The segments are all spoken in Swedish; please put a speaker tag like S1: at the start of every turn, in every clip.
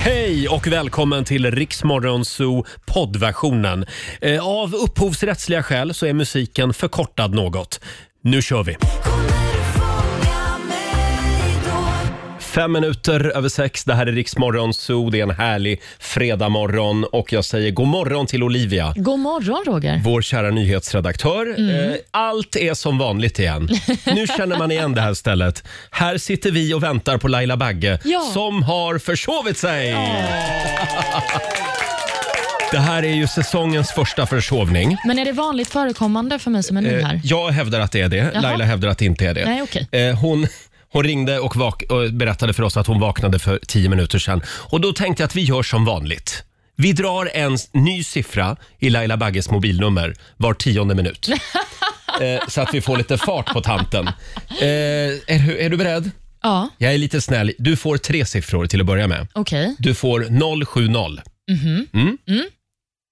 S1: Hej och välkommen till Riksmorgon Zoo poddversionen. Eh, Av upphovsrättsliga skäl så är musiken förkortad något. Nu kör vi! Fem minuter över sex, det här är Riksmorgon Zoo. Det är en härlig fredagmorgon och jag säger god morgon till Olivia.
S2: God morgon Roger.
S1: Vår kära nyhetsredaktör. Eh, Allt är som vanligt igen. Nu känner man igen det här stället. Här sitter vi och väntar på Laila Bagge
S2: Ja.
S1: som har försovit sig. Det här är ju säsongens första försovning.
S2: Men är det vanligt förekommande för mig som är ny här?
S1: Eh, Jag hävdar att det är det.
S2: Jaha.
S1: Laila hävdar att det inte är det.
S2: Nej, okej.
S1: Eh, Hon, hon ringde och, vak- och berättade för oss att hon vaknade för tio minuter sedan. Och då tänkte jag att vi gör som vanligt. Vi drar en s- ny siffra i Laila Bagges mobilnummer var tionde minut. Eh, Så att vi får lite fart på tanten. Eh, Är, du- är du beredd?
S2: Ja,
S1: Jag är lite snäll. Du får tre siffror till att börja med.
S2: okej.
S1: Du får 070. Mm.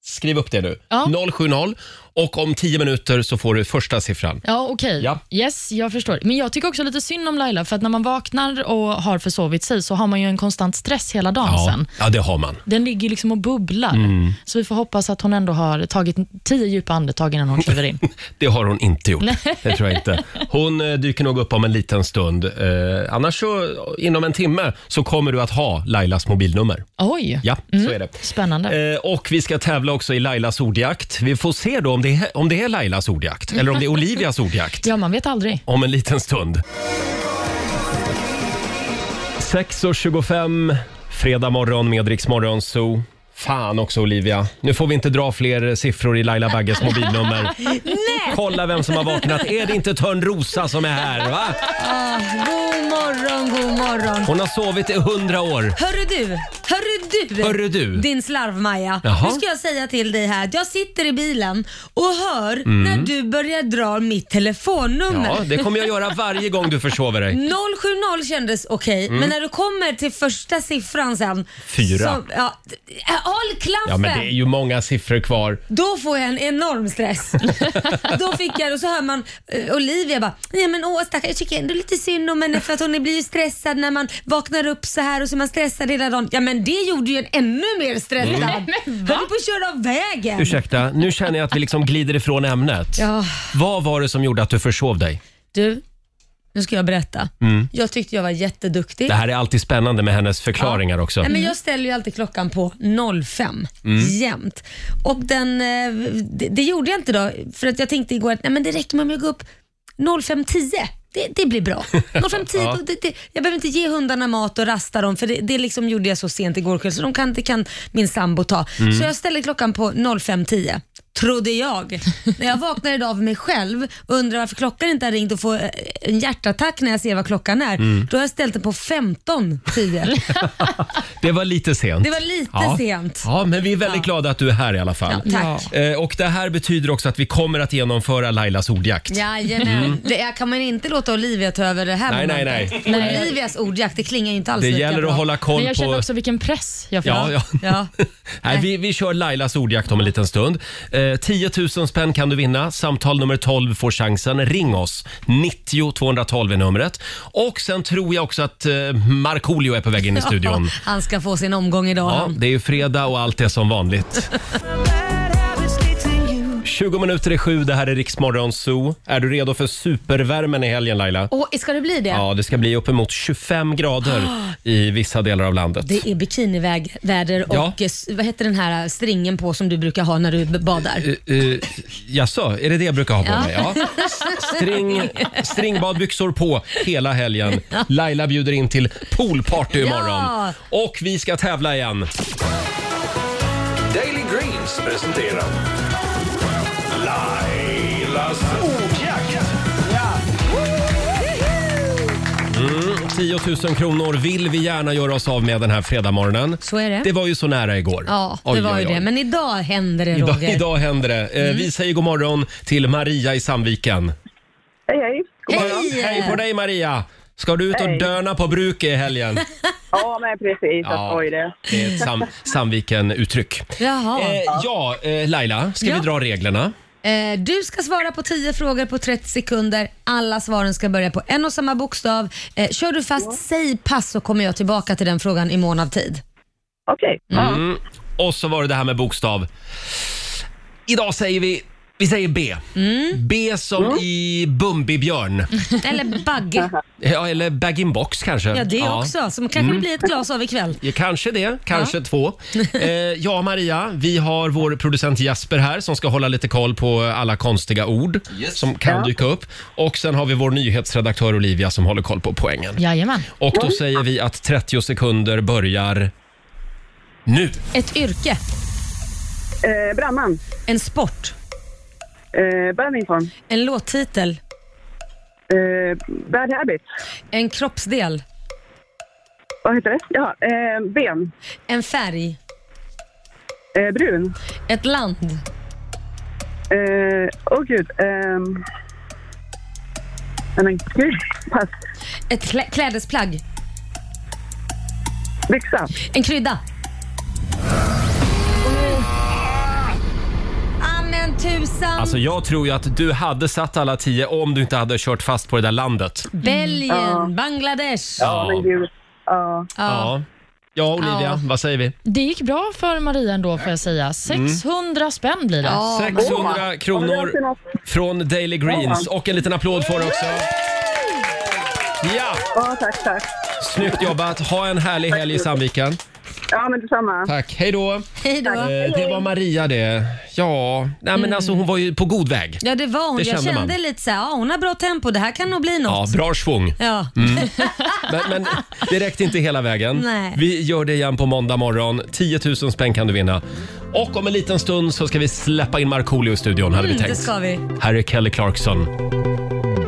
S1: Skriv upp det nu.
S2: Ja.
S1: 070. Och om 10 minuter så får du första siffran.
S2: Ja, okej.
S1: Ja.
S2: Yes, jag förstår. Men jag tycker också lite synd om Laila, för att när man vaknar och har försovit sig så har man ju en konstant stress hela dagen sen.
S1: ja, Mm. det har man.
S2: Den ligger ju liksom och bubblar. Så vi får hoppas att hon ändå har tagit tio djupa andetag innan hon kliver in.
S1: Det har hon inte gjort. Det tror jag inte. Hon eh, dyker nog upp om en liten stund. Eh, annars så, inom en timme så kommer du att ha Lailas mobilnummer.
S2: Oj,
S1: Ja, så är det.
S2: spännande.
S1: Eh, och vi ska tävla också i Lailas ordjakt. Vi får se då om det är, om det är Lailas ordjakt eller om det är Olivias ordjakt.
S2: Ja, man vet aldrig.
S1: om en liten stund. 6.25, fredag morgon med Rix Morgon Zoo. Fan också Olivia, nu får vi inte dra fler siffror i Laila Bagges mobilnummer. Kolla vem som har vaknat. Är det inte Törnrosa som är här? Va?
S3: God morgon, god morgon.
S1: Hon har sovit i hundra år.
S3: Hörru du, hörru du.
S1: Hörru du.
S3: Din slarvmaja.
S1: Jaha.
S3: Nu ska jag säga till dig här att jag sitter i bilen och hör när du börjar dra mitt telefonnummer.
S1: Mm. Ja, det kommer jag göra varje gång du försover dig.
S3: 070 kändes okej, men när du kommer till första siffran sen.
S1: Mm. Fyra.
S3: Så, ja, håll klaffen!
S1: Ja, men det är ju många siffror kvar.
S3: Då får jag en enorm stress. då fick jag och så hör man eh, Olivia bara, nej men åh stackare, jag tycker ändå lite synd om henne för att hon blir ju stressad när man vaknar upp så här och så är man stressad hela dagen. Ja men det gjorde ju en ännu mer stressad. Höll på att köra av vägen.
S1: Ursäkta, nu känner jag att vi liksom glider ifrån ämnet.
S3: Ja,
S1: Vad var det som gjorde att du försov dig?
S3: du. Nu ska jag berätta. Jag tyckte jag var jätteduktig.
S1: Det här är alltid spännande med hennes förklaringar också. Mm.
S3: Nej, men jag ställer ju alltid klockan på 05 jämt. Och den, eh, det, det gjorde jag inte då, för att jag tänkte igår att nej, men det räcker med om jag går upp 05.10. Det, det blir bra. 05.10,
S1: Ja.
S3: då- det, det, jag behöver inte ge hundarna mat och rasta dem, för det, det liksom gjorde jag så sent igår kväll, så de kan, det kan min sambo ta.
S1: Mm.
S3: Så jag ställer klockan på 05.10. Trodde jag. När jag vaknar idag av mig själv och undrar varför klockan inte har ringt och får eh, en hjärtattack när jag ser vad klockan är.
S1: Mm.
S3: Då har jag ställt den på 15.10.
S1: Det var lite sent.
S3: Det var lite sent.
S1: Ja, men vi är väldigt glada att du är här i alla fall.
S3: Ja, tack.
S1: Eh, Och Det här betyder också att vi kommer att genomföra Lailas ordjakt.
S3: Jajamän. Det, jag kan man inte låta Olivia ta över det här
S1: Mm. Nej, nej,
S3: momentet.
S1: nej.
S3: Men Olivias ordjakt, det klingar ju inte alls
S1: Det
S3: lika
S1: gäller
S3: bra.
S1: att hålla
S2: Men
S1: koll
S2: jag känner
S1: på...
S2: också vilken press jag får.
S1: Ja, ja.
S3: Ja.
S1: Nej, vi, vi kör Lailas ordjakt om en liten stund. Eh, 10 000 spänn kan du vinna. Samtal nummer 12 får chansen. Ring oss. 90 212 är numret. Och sen tror jag också att eh, Markoolio är på väg in i studion.
S3: Han ska få sin omgång idag.
S1: Ja,
S3: han.
S1: det är ju fredag och allt är som vanligt. 20 minuter i sju, det här är Riksmorgon Zoo. Är du redo för supervärmen i helgen Laila?
S3: Och, ska det bli det?
S1: Ja, det ska bli uppemot 25 grader i vissa delar av landet.
S3: Det är bikiniväder och eh,
S1: Ja.
S3: s- vad heter den här eh, stringen på som du brukar ha när du b- badar?
S1: Uh, uh, jaså, är det det jag brukar ha på
S3: Ja.
S1: mig? Ja. String, stringbadbyxor på hela helgen. Laila bjuder in till poolparty imorgon.
S3: Ja.
S1: Och vi ska tävla igen.
S4: Daily Greens presenterar Lailas ordjakt.
S1: 10 000 kronor vill vi gärna göra oss av med den här fredagmorgonen.
S3: Så är det.
S1: Det var ju så nära igår.
S3: Ja, det
S1: Oj,
S3: var
S1: oj,
S3: ju
S1: oj.
S3: det. Men idag händer det
S1: Idag,
S3: Roger. Mm.
S1: idag händer det. Eh, Vi säger god morgon till Maria i Sandviken.
S5: Hej, hej.
S3: Hej!
S1: Hej på dig Maria! Ska du ut och
S5: Hej.
S1: döna på bruket i helgen?
S5: Ja, men precis.
S1: Ja.
S5: Jag sa ju det.
S1: Det är ett Sam, Sandviken-uttryck.
S3: Jaha.
S1: Eh, ja, eh, Laila, ska
S3: Ja.
S1: vi dra reglerna?
S3: Eh, du ska svara på 10 frågor på 30 sekunder. Alla svaren ska börja på en och samma bokstav. Eh, kör du fast, säg pass så kommer jag tillbaka till den frågan i månad tid.
S5: Okej. Ja.
S1: Mm. Och så var det det här med bokstav. Idag säger vi, vi säger B.
S3: Mm.
S1: B som i Bumbibjörn.
S3: Eller bagge.
S1: Ja, eller bag-in-box kanske.
S3: Ja, det också. Som kanske
S1: Mm.
S3: det blir ett glas av ikväll.
S1: Ja, Kanske det, kanske två. Eh, ja, Maria, vi har vår producent Jasper här som ska hålla lite koll på alla konstiga ord som kan dyka upp. Och sen har vi vår nyhetsredaktör Olivia som håller koll på poängen.
S2: Jajamän.
S1: Och då säger vi att 30 sekunder börjar nu.
S3: Ett yrke.
S5: Eh, brandman.
S3: En sport.
S5: Eh, brandinform.
S3: En låttitel.
S5: Eh, bad habits.
S3: En kroppsdel.
S5: Vad heter det? Jaha. Eh, ben.
S3: En färg.
S5: Eh, brun.
S3: Ett land.
S5: Åh eh, oh, gud. Eh, nej, men gud. Pass.
S3: Ett klä- klädesplagg.
S5: Byxa.
S3: En krydda. Ah, men tusan!
S1: Alltså jag tror ju att du hade satt alla tio om du inte hade kört fast på det där landet.
S3: Belgien, Bangladesh.
S1: mm. Ja,
S5: Men gud. Ja.
S1: ja. ja Olivia,
S2: Ja.
S1: vad säger vi?
S2: Det gick bra för Maria ändå får jag
S1: Mm.
S2: säga. 600 spänn blir det.
S3: Ja,
S1: 600
S5: Ja,
S1: kronor
S5: det är något.
S1: från Daily Greens och en liten applåd för också. Ja,
S5: Ja, tack, tack.
S1: snyggt jobbat. Ha en härlig helg i Sandviken.
S5: Ja, men detsamma.
S1: Tack, hej då. Eh,
S3: Hej då.
S1: det var Maria det. Ja, nej men alltså hon var ju på god väg.
S3: Ja, det var hon.
S1: Det
S3: jag
S1: kände
S3: kände
S1: man.
S3: lite så här, ja, hon har bra tempo. Det här kan nog bli
S1: Ja, Mm.
S3: något.
S1: bra svung.
S3: Ja.
S1: Men, men det räckte inte hela vägen.
S3: Nej.
S1: Vi gör det igen på måndag morgon. 10 000 spänn kan du vinna. Och om en liten stund så ska vi släppa in Markoolio i studion hade vi
S3: Mm, det
S1: tänkt.
S3: ska vi.
S1: Här är Kelly Clarkson.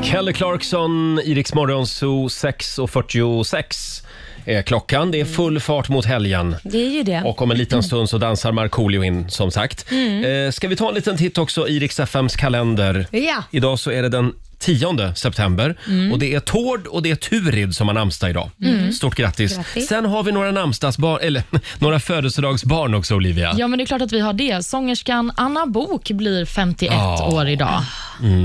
S1: Kelly Clarkson, Iriks morgonzoo 6.46 är klockan. Det är full fart mot helgen.
S3: Det är ju det.
S1: Och om en liten stund så dansar Markoolio in som sagt.
S3: Mm.
S1: Eh, ska vi ta en liten titt också i Rix FMs kalender?
S3: Ja.
S1: Idag så är det den 10 september
S3: Mm.
S1: och det är Tord och det är Turid som har namnsdag idag. Stort grattis.
S3: Grattis.
S1: Sen har vi några namnsdagsbarn, eller några födelsedagsbarn också Olivia.
S2: Ja, men det är klart att vi har det. Sångerskan Anna Bok blir 51
S1: Ja.
S2: år idag.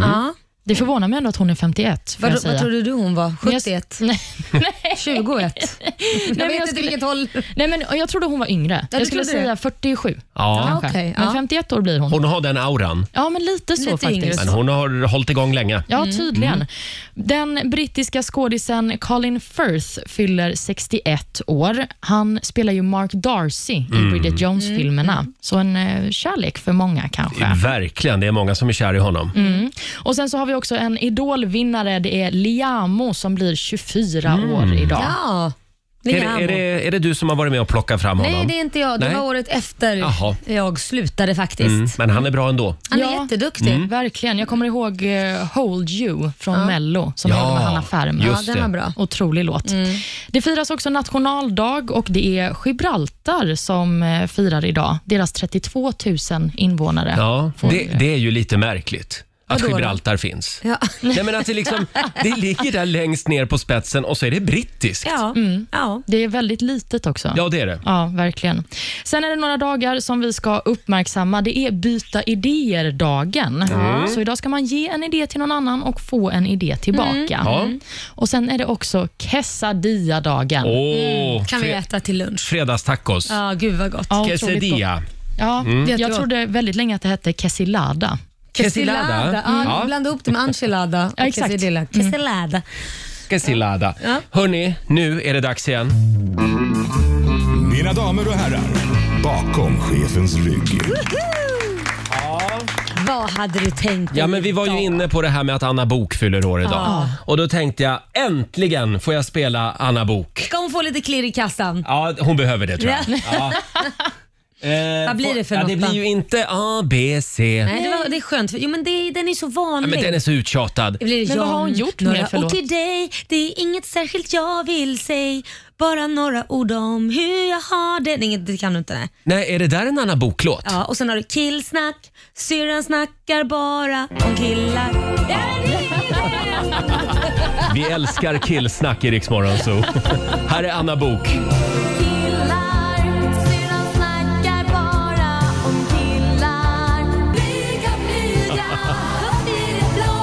S3: Ja.
S2: Det förvånar mig ändå att hon är 51. får
S3: Mm. Vad,
S2: jag säga.
S3: vad trodde du hon var?
S2: Men jag-
S3: 71?
S2: Nej, nej.
S3: 21? Jag
S2: men
S3: vet
S2: jag
S3: inte
S2: skulle-
S3: vilket håll.
S2: Nej, men jag trodde hon var yngre.
S3: du
S2: jag skulle
S3: trodde det?
S2: säga 47.
S1: Ja.
S2: kanske.
S3: okej, ja.
S2: Men 51 år blir hon.
S1: Hon har den auran,
S2: Ja, men lite så
S3: Lite
S2: faktiskt.
S3: yngre.
S1: men hon Mm. har hållit igång länge.
S2: Ja, tydligen. Den brittiska skådisen Colin Firth fyller 61 år. Han spelar ju Mark Darcy i
S1: Mm.
S2: Bridget
S3: Mm.
S2: Jones-filmerna, så en eh, kärlek för många kanske.
S1: Verkligen, det är många som är kär i honom.
S3: Mm.
S2: Och Sen så har vi också en idolvinnare, det är Liamo som blir 24
S1: Mm.
S2: år idag.
S3: Ja.
S1: Är, det, är, det, är det du som har varit med och plockat fram honom?
S3: Nej, det är inte jag. Det
S1: Nej.
S3: var året efter
S1: Jaha.
S3: jag slutade faktiskt.
S1: Mm, Men han är bra ändå.
S3: Han är
S2: Ja.
S3: jätteduktig.
S2: Verkligen. Jag kommer ihåg eh, Hold You från Mello som jag gjorde med Hanna Ferm.
S3: Ja,
S1: just
S3: den
S1: det.
S3: var bra.
S2: Otrolig låt. Det firas också nationaldag och det är Gibraltar som eh, firar idag. Deras 32 000 invånare.
S1: Ja,
S2: får-
S1: det, det är ju lite märkligt att
S3: Vadå då?
S1: Gibraltar finns.
S3: Ja.
S1: Nej, men att det, liksom, det ligger där längst ner på spetsen och så är det brittiskt.
S3: Ja. ja.
S2: Det är väldigt litet också.
S1: Ja, det är det.
S2: Ja, verkligen. Sen är det några dagar som vi ska uppmärksamma. Det är byta idéer-dagen.
S1: Mm.
S2: Så idag ska man ge en idé till någon annan och få en idé tillbaka.
S1: Mm. Ja.
S2: Och Sen är det också quesadilla-dagen.
S1: Åh,
S3: Mm, Kan vi
S1: fre-
S3: äta till lunch?
S1: fredagstacos.
S3: Ja, gud vad gott.
S2: Ja, otroligt gott.
S1: Quesadilla.
S2: Ja,
S1: Mm.
S2: jag
S3: Jättegott.
S2: trodde väldigt länge att det hette quesilada.
S1: Quesilada. Mm.
S3: Ja,
S1: Ja.
S3: Blanda ihop det med enchilada och
S2: Ja, exakt.
S3: quesadilla. Mm. Quesilada.
S1: Quesilada.
S3: Ja.
S1: Hörni, nu är det dags igen.
S4: Mina damer och herrar, bakom chefens rygg.
S3: Vad hade du tänkt
S1: Ja, men vi var ju
S3: idag?
S1: inne på det här med att Anna Bok fyller år idag.
S3: Ja.
S1: Och då tänkte jag äntligen får jag spela Anna Bok.
S3: Ska hon få lite klirr i kassan?
S1: Ja, hon behöver det tror jag. Ja. Eh,
S3: Vad blir det för
S1: ja,
S3: något
S1: Det blir
S3: då?
S1: ju inte A, B, C.
S3: Nej, det, var, det är skönt. för- Jo, men det, den är så
S1: Ja,
S3: vanlig.
S1: men den är så uttjatad.
S3: Det blir
S2: Men vad har hon
S3: John,
S2: gjort
S3: några
S2: mer för
S3: ord
S2: låt?
S3: till dig, det är inget särskilt jag vill säga. Bara några ord om hur jag har det. Nej, inget- det kan du inte. Nej.
S1: Nej, är det där en Anna Bok-låt?
S3: Ja, och sen har du killsnack, syrran snackar bara om killar. Ja, men det är det.
S1: Vi älskar killsnack i Rix Morgon Zoo. Här är Anna Bok.
S3: Killar, syrran snackar bara om killar. Blyga, blyga, upp i det blå.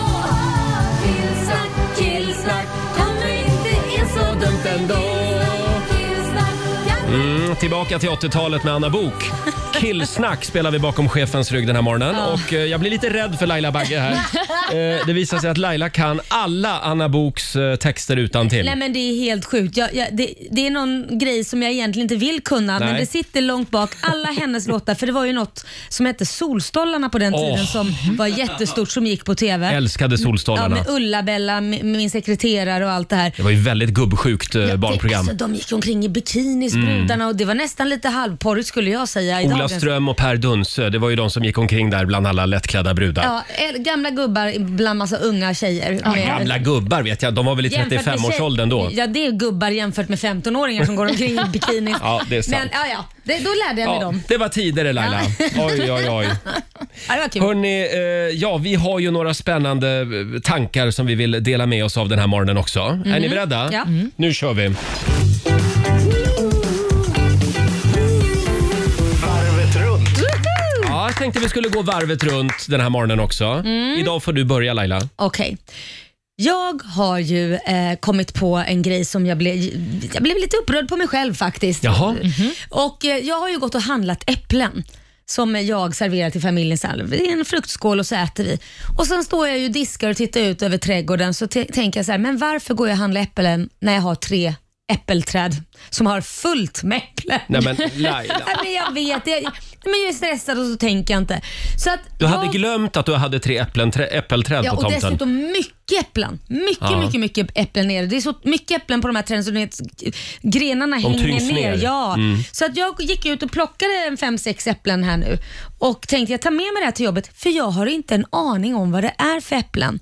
S3: Killsnack, killsnack, kommer inte in så dumt ändå. Killsnack, ja.
S1: Mm, Tillbaka till 80-talet med Anna Bok. Killsnack spelar vi bakom chefens rygg den här morgonen. Och eh, jag blir lite rädd för Laila Bagge här. Eh, det visar sig att Laila kan alla Anna Boks eh, texter utan till.
S3: Nej men det är helt sjukt. Jag, jag, det, det är någon grej som jag egentligen inte vill kunna men
S1: Nej.
S3: det sitter långt bak. Alla hennes låtar, för det var ju något som hette Solstollarna på den tiden
S1: Åh. Mm-hmm.
S3: som var jättestort som gick på TV.
S1: Älskade
S3: ja,
S1: Solstollarna.
S3: med Ulla-Bella, med, med min sekreterare och allt det här.
S1: Det var ju väldigt gubbsjukt eh, barnprogram. Mm.
S3: Alltså, de gick omkring i bikinis, brudarna, och det var nästan lite halvporrigt skulle jag säga. i
S1: Ola
S3: dagens-
S1: Ström och Per Dunsö, det var ju de som gick omkring där bland alla lättklädda brudar.
S3: Ja, äl- gamla gubbar bland massa unga tjejer. Med-
S1: Gamla gubbar vet jag, de var väl i
S3: jämfört med
S1: 35-årsåldern då.
S3: tjej- Ja, det är gubbar jämfört med 15-åringar som går omkring i bikinis.
S1: Ja, det är sant.
S3: Men ja, ja, det, då lärde jag mig
S1: Ja,
S3: dem.
S1: det var tider det Laila. Oj, oj, oj.
S3: Ja, det var kul.
S1: Hörrni, eh, ja, vi har ju några spännande eh, tankar som vi vill dela med oss av den här morgonen också. Är ni beredda?
S3: Mhm.
S1: Mm.
S3: Ja.
S1: Nu kör vi.
S6: Varvet runt.
S1: Ja, jag tänkte vi skulle gå varvet runt den här morgonen också.
S3: Mm.
S1: Idag får du börja Laila.
S3: Okej. Jag har ju eh, kommit på en grej som jag blev, jag blev lite upprörd på mig själv faktiskt.
S1: Jaha.
S3: Och eh, jag har ju gått och handlat äpplen som jag serverar till familjen själv. I en fruktskål och så äter vi. Och sen står jag ju och diskar och tittar ut över trädgården så t- tänker jag så här, men varför går jag och handlar äpplen när jag har tre äppelträd som har fullt med äpplen?
S1: Nej men Laila.
S3: Nej, men jag vet, jag, men jag är stressad och så tänker jag inte. Så att
S1: Du hade
S3: jag,
S1: glömt att du hade tre äpplen, trä, äppelträd
S3: Ja,
S1: på
S3: och
S1: tomten.
S3: dessutom mycket äpplen. Mycket,
S1: Ja.
S3: mycket, mycket äpplen ner. Det är så mycket äpplen på de här träden så du vet, grenarna hänger
S1: tyngs
S3: ner.
S1: ner. Mm.
S3: Ja. Så att jag gick ut och plockade en fem, sex äpplen här nu och tänkte jag tar med mig det här till jobbet för jag har inte en aning om vad det är för äpplen.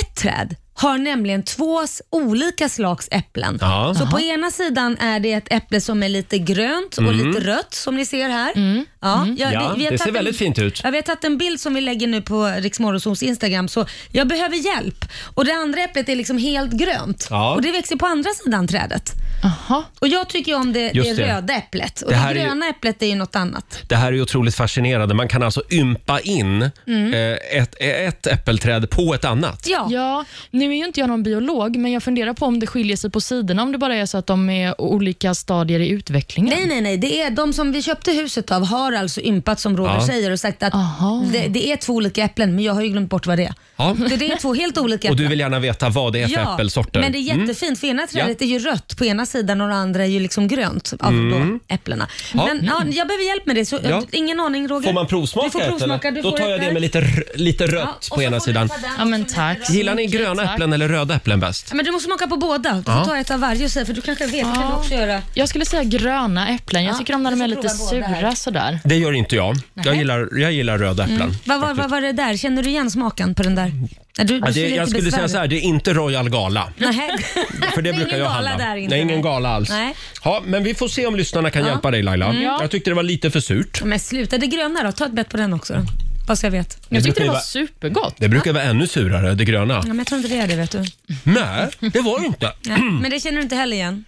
S3: Ett träd har nämligen två s- olika slags äpplen.
S1: Ja.
S3: Så på ena sidan är det ett äpple som är lite grönt och lite rött som ni ser här. Ja, jag-
S1: Mm. Ja,
S3: vi- vi har
S1: det ser
S3: tagit
S1: väldigt
S3: en,
S1: fint ut.
S3: Ja, vi har tagit en bild som vi lägger nu på Riksmorgonsols Instagram, så jag behöver hjälp. Och det andra äpplet är liksom helt grönt
S1: Ja.
S3: och det växer på andra sidan trädet.
S2: Jaha.
S3: Och jag tycker ju om det, det,
S1: Just det.
S3: röda äpplet och
S1: Det
S3: det,
S1: här är ju-
S3: gröna äpplet är ju något annat.
S1: Det här är ju otroligt fascinerande. Man kan alltså ympa in
S3: Mm.
S1: eh, ett, ett äppelträd på ett annat.
S3: Ja,
S2: Ja, nu är ju inte jag någon biolog, men jag funderar på om det skiljer sig på sidorna, om det bara är så att de är olika stadier i utvecklingen.
S3: Nej, nej, nej. Det är de som vi köpte huset av har alltså ympat som Roger
S1: Ja.
S3: säger och sagt att
S2: Aha.
S3: det, det är två olika äpplen, men jag har ju glömt bort vad det är.
S1: Ja.
S3: Så det är två helt olika
S1: Och
S3: äpplen.
S1: du vill gärna veta vad det är för äppelsorter. Mm.
S3: men det är jättefint för ena trädet är ju rött på ena sidan och det andra är ju liksom grönt av då äpplena.
S1: Mm. Ja. Mm.
S3: Men ja, jag behöver hjälp med det, så
S1: Ja.
S3: ingen aning Roger.
S1: Får man provsmaka?
S3: Du får
S1: ett,
S3: provsmaka.
S1: eller?
S3: Du
S1: Då
S3: får
S1: tar jag
S3: ett
S1: det
S3: där.
S1: med lite, r- lite
S3: Ja,
S1: rött
S3: och
S1: på
S3: så
S1: ena
S3: får du
S1: sidan.
S3: ta den
S2: Ja, men
S3: som är
S2: tack.
S3: rött.
S1: Gillar ni gröna
S2: Tack.
S1: äpplen eller röda äpplen bäst?
S3: Ja, Men du måste smaka på båda. Du får
S1: Ja.
S3: ta ett av varje och säga, för du kanske vet. Det kan du
S2: Ja.
S3: också göra.
S2: Jag skulle säga gröna äpplen. Jag
S3: Ja,
S2: tycker om när de är
S3: jag
S2: lite
S3: provar båda här.
S2: sura sådär.
S1: Det gör inte jag. Jag gillar, jag gillar röda äpplen.
S3: Mm. Vad var vad var det där? Känner du igen smaken på den där? Nej, Du, du
S1: Ja,
S3: ser
S1: det,
S3: lite
S1: jag skulle säga
S3: besvärlig
S1: så här, det är inte Royal Gala.
S3: ut. Nähä.
S1: För det,
S3: är
S1: brukar
S3: ingen
S1: jag
S3: gala
S1: handla.
S3: Där, inte.
S1: Nej, ingen gala alls.
S3: Nej. Mm.
S1: Ja, men vi får se om lyssnarna kan hjälpa dig Laila. Jag tyckte det var lite för surt.
S3: Men sluta, det gröna då. Ta ett bett på den också. då. Bara så jag vet.
S1: Det
S2: Jag
S1: brukar
S2: tyckte det
S1: ju
S2: var
S1: vara-
S2: supergott.
S1: Det brukar vara ännu surare, det gröna.
S3: Ja, men jag tror inte det är det vet du.
S1: Nej, det var det inte.
S3: Nej. Men det känner du inte heller igen?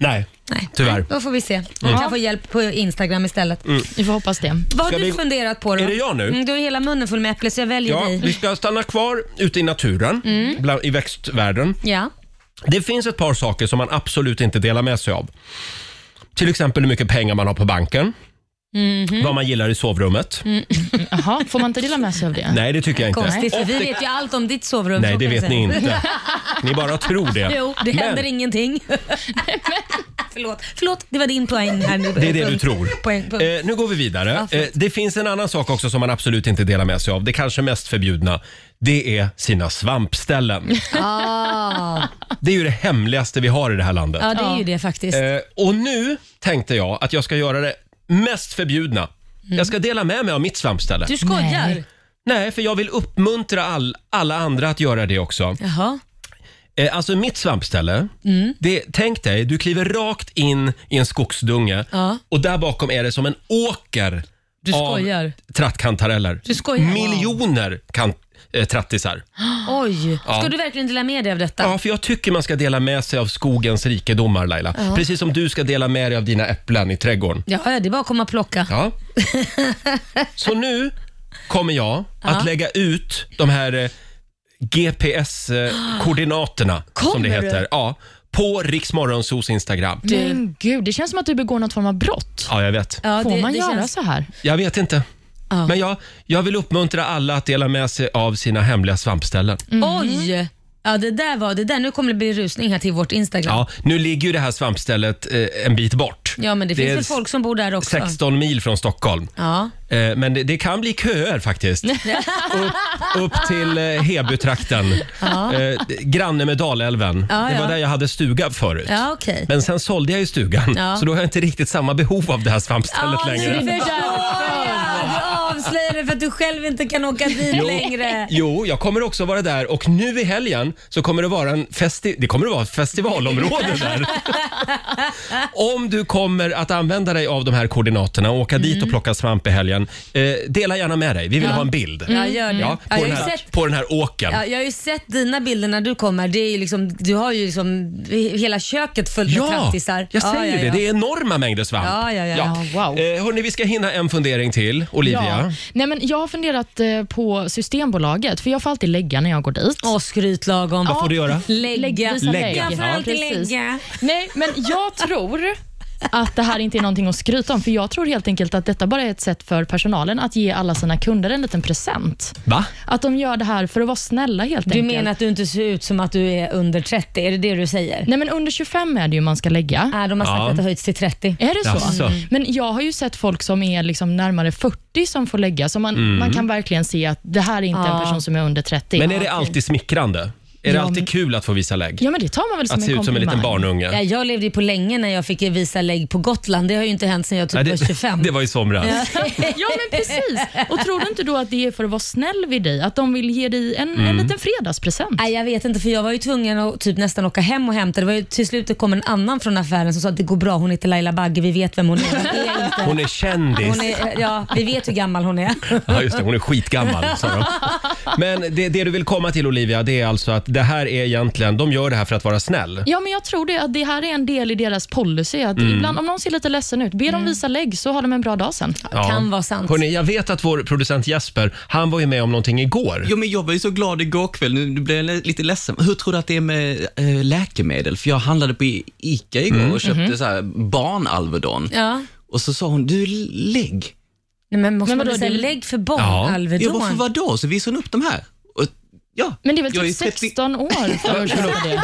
S1: Nej,
S3: Nej.
S1: tyvärr. Mm.
S3: Då får vi se. Man kan få hjälp på Instagram istället.
S2: Vi får hoppas det.
S3: Vad har
S1: Ska
S3: du
S1: vi-
S3: funderat på då?
S1: Är det jag nu?
S3: Mm, du har hela munnen full med äpple så jag väljer
S1: Ja,
S3: dig.
S1: vi ska stanna kvar ute i naturen,
S3: Mm.
S1: bland, i växtvärlden.
S3: Ja.
S1: Det finns ett par saker som man absolut inte delar med sig av. Till exempel hur mycket pengar man har på banken.
S3: Mhm.
S1: Vad man gillar i sovrummet.
S2: Jaha, får man inte dela med sig av det?
S1: Nej, det tycker jag inte.
S3: Mm. Konstigt för
S1: Och
S3: vi
S1: det-
S3: vet ju allt om ditt sovrum.
S1: Nej,
S3: så
S1: det
S3: kan jag
S1: vet
S3: säga.
S1: ni inte. Ni bara tror det.
S3: Jo, det
S1: Men
S3: händer ingenting. Förlåt. Förlåt, det var din poäng här nu.
S1: Det är det du
S3: Punkt.
S1: tror.
S3: Poäng, punkt.
S1: Eh, nu går vi vidare.
S3: Ja,
S1: eh,
S3: förlåt.
S1: det finns en annan sak också som man absolut inte delar med sig av. Det kanske mest förbjudna. Det är sina svampställen. Det är ju det hemligaste vi har i det här landet.
S3: Ah. Ja, det är ju det faktiskt.
S1: Eh, och nu tänkte jag att jag ska göra det mest förbjudna. Jag ska dela med mig av mitt svampställe.
S3: Mm. Du skojar?
S2: Nej.
S1: Nej, för jag vill uppmuntra all, alla andra att göra det också.
S3: Jaha.
S1: Eh, alltså mitt svampställe,
S3: Mm.
S1: det, tänk dig, du kliver rakt in i en skogsdunge
S3: Ja.
S1: och där bakom är det som en åker
S3: Du
S1: av
S3: skojar.
S1: trattkantareller.
S3: Du skojar.
S1: Miljoner kan, eh, trattisar.
S3: Oj.
S1: Ah.
S3: Ska du verkligen dela med dig av detta?
S1: Ja, för jag tycker man ska dela med sig av skogens rikedomar Laila. Precis som du ska dela med dig av dina äpplen i trädgården.
S3: Ja, ja, det är bara att komma och plocka.
S1: Ja. Så nu kommer jag att lägga ut de här eh, GPS-koordinaterna, som det
S3: Kommer du?
S1: heter, ja, på Riksmorgonsos Instagram.
S2: Men gud, det känns som att du begår något form av brott.
S1: Ja, jag vet.
S3: Ja,
S2: Får
S3: det-
S2: man
S3: det
S2: göra
S3: känns-
S2: så här?
S1: Jag vet inte.
S3: Ja.
S1: Men jag, jag vill uppmuntra alla att dela med sig av sina hemliga svampställen.
S2: Mm.
S3: Oj! Ja, det där var det där. Nu kommer det bli rusning här till vårt Instagram. Ja,
S1: Ja, nu ligger ju det här svampstället eh, en bit bort.
S3: men det,
S1: är
S3: finns väl folk som bor där också?
S1: 16 mil från Stockholm.
S3: Ja.
S1: Eh, Men det, det kan bli köer faktiskt. upp, upp till eh, Hebytrakten. Eh, Granne med Dalälven.
S3: Ja,
S1: Det var
S3: ja.
S1: där jag hade stuga förut.
S3: Ja, okej.
S1: Men sen sålde jag ju stugan,
S3: Ja.
S1: så då har jag inte riktigt samma behov av det här svampstället
S3: Ja, nu
S1: längre.
S3: förstår jag! Du avslöjar det för att du själv inte kan åka dit längre.
S1: Jo, jag kommer också vara där och nu i helgen så kommer det vara en festi- det kommer att vara ett festivalområde där. Om du kommer att använda dig av de här koordinaterna och åka dit och plocka svamp i helgen, eh, dela gärna med dig. Vi vill ha en bild.
S3: Ja, gör det.
S1: Ja,
S3: Ja,
S1: på, den
S3: jag har ju
S1: här,
S3: sett
S1: på den här åken.
S3: Ja, jag har ju sett dina bilder när du kommer. Det är ju liksom, du har ju liksom hela köket fullt med
S1: Ja, jag
S3: trattisar.
S1: säger det. Det är enorma mängder svamp.
S3: Ja, ja, ja.
S2: Ja, wow.
S1: Eh, hörni, vi ska hinna en fundering till, Olivia.
S2: Nej, men jag har funderat eh, på Systembolaget, för jag får alltid lägga när jag går dit.
S3: Åh, skryt lagom.
S1: Vad får du göra?
S3: Lägga.
S2: visa
S1: Lägga.
S2: lägg.
S1: Jag får
S3: alltid
S2: Precis.
S3: lägga.
S2: Nej, men jag tror att det här inte är någonting att skryta om, för jag tror helt enkelt att detta bara är ett sätt för personalen att ge alla sina kunder en liten present.
S1: Va?
S2: Att de gör det här för att vara snälla helt
S3: Du
S2: enkelt.
S3: menar att du inte ser ut som att du är under 30? Är det det du säger?
S2: Nej, men under 25 är det ju man ska lägga.
S3: Nej, de har sagt
S1: Ja.
S3: att det höjts till 30.
S2: Är det så?
S1: Jaså. Mm.
S2: Men jag har ju sett folk som är liksom närmare 40 som får lägga, så man, man kan verkligen se att det här är inte en
S3: Ja.
S2: person som är under 30.
S1: Mm. Men är det alltid smickrande? Är det
S2: Ja,
S1: alltid
S2: men-
S1: kul att få visa lägg?
S2: Ja, men det tar man väl som
S1: Att
S2: en
S1: se ut som en liten
S2: komplimang.
S1: barnunge?
S3: Ja, jag levde ju på länge när jag fick visa lägg på Gotland. Det har ju inte hänt sedan jag typ
S1: Nej,
S3: var 25.
S1: det, det var i somras.
S2: Ja, men precis. Och tror du inte då att det är för att vara snäll vid dig? Att de vill ge dig en,
S1: Mm.
S2: en liten fredagspresent?
S3: Nej, jag vet inte för jag var ju tvungen att typ nästan åka hem och hämta. Det var ju till slut det kom en annan från affären som sa att det går bra, hon heter Laila Bagge, vi vet vem hon är. Hon är inte.
S1: Hon är kändis.
S3: Hon är, ja, vi vet hur gammal hon är.
S1: Ja, just det, hon är skitgammal, sa de. Men det, det du vill komma till, Olivia, det är alltså att det här är egentligen, de gör det här för att vara snäll.
S2: Ja, men jag tror det, att det här är en del i deras policy. Att
S1: Mm.
S2: ibland, om någon ser lite ledsen ut, be dem visa lägg så har de en bra dag sen.
S3: Kan vara sant.
S1: Hörrni, jag vet att vår producent Jesper, han var ju med om någonting igår.
S6: Jo, men jag var ju så glad igår kväll, nu nu blir jag le- lite ledsen. Hur tror du att det är med eh, läkemedel? För jag handlade på I- ICA igår
S2: Mm,
S6: och köpte
S2: mhm.
S6: så här barnalvedon.
S3: Ja.
S6: Och så sa hon, du lägg.
S3: Nej, men måste
S2: Men
S3: man
S2: vadå,
S3: säga
S2: det-
S3: lägg för barn,
S1: Ja.
S6: Ja,
S3: Alvedon?
S6: varför vadå? Så visade hon upp de här. Och, ja,
S2: Men det är väl
S6: jag
S2: typ
S6: ju 30
S2: 16 år för att köpa det?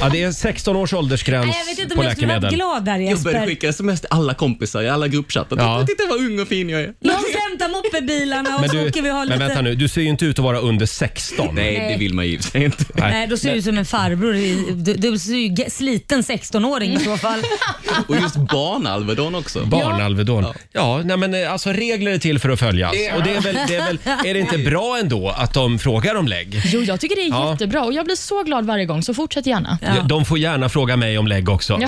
S1: Ja, det är 16 års åldersgräns
S3: Nej, jag vet inte
S1: på
S3: om jag skulle vara
S1: läkemedel.
S3: glad där
S6: Jag började
S3: Jesper.
S6: skicka sms till alla kompisar i alla gruppchattar.
S1: Ja.
S6: Titta, titta vad ung och fin jag är.
S3: Låt oss hämta moppebilarna och
S1: Men,
S3: så
S1: du,
S3: åker vi och har
S1: men
S3: lite...
S1: vänta nu, du ser ju inte ut att vara under 16.
S6: Nej, det vill man ju i och för sig inte.
S3: Nej, då ser du ut som en farbror. i- Du, du ser ju ge- sliten 16-åring i så fall.
S6: Och just barnalvedon också.
S1: Barnalvedon. Ja, nej men eh, alltså regler är till för att följas. Och det är, väl, det är väl, är det inte bra ändå att de frågar om lägg?
S2: Jo, jag tycker det är
S1: Ja.
S2: jättebra och jag blir så glad varje gång, så fortsätt gärna.
S1: De får gärna fråga mig om lägg också.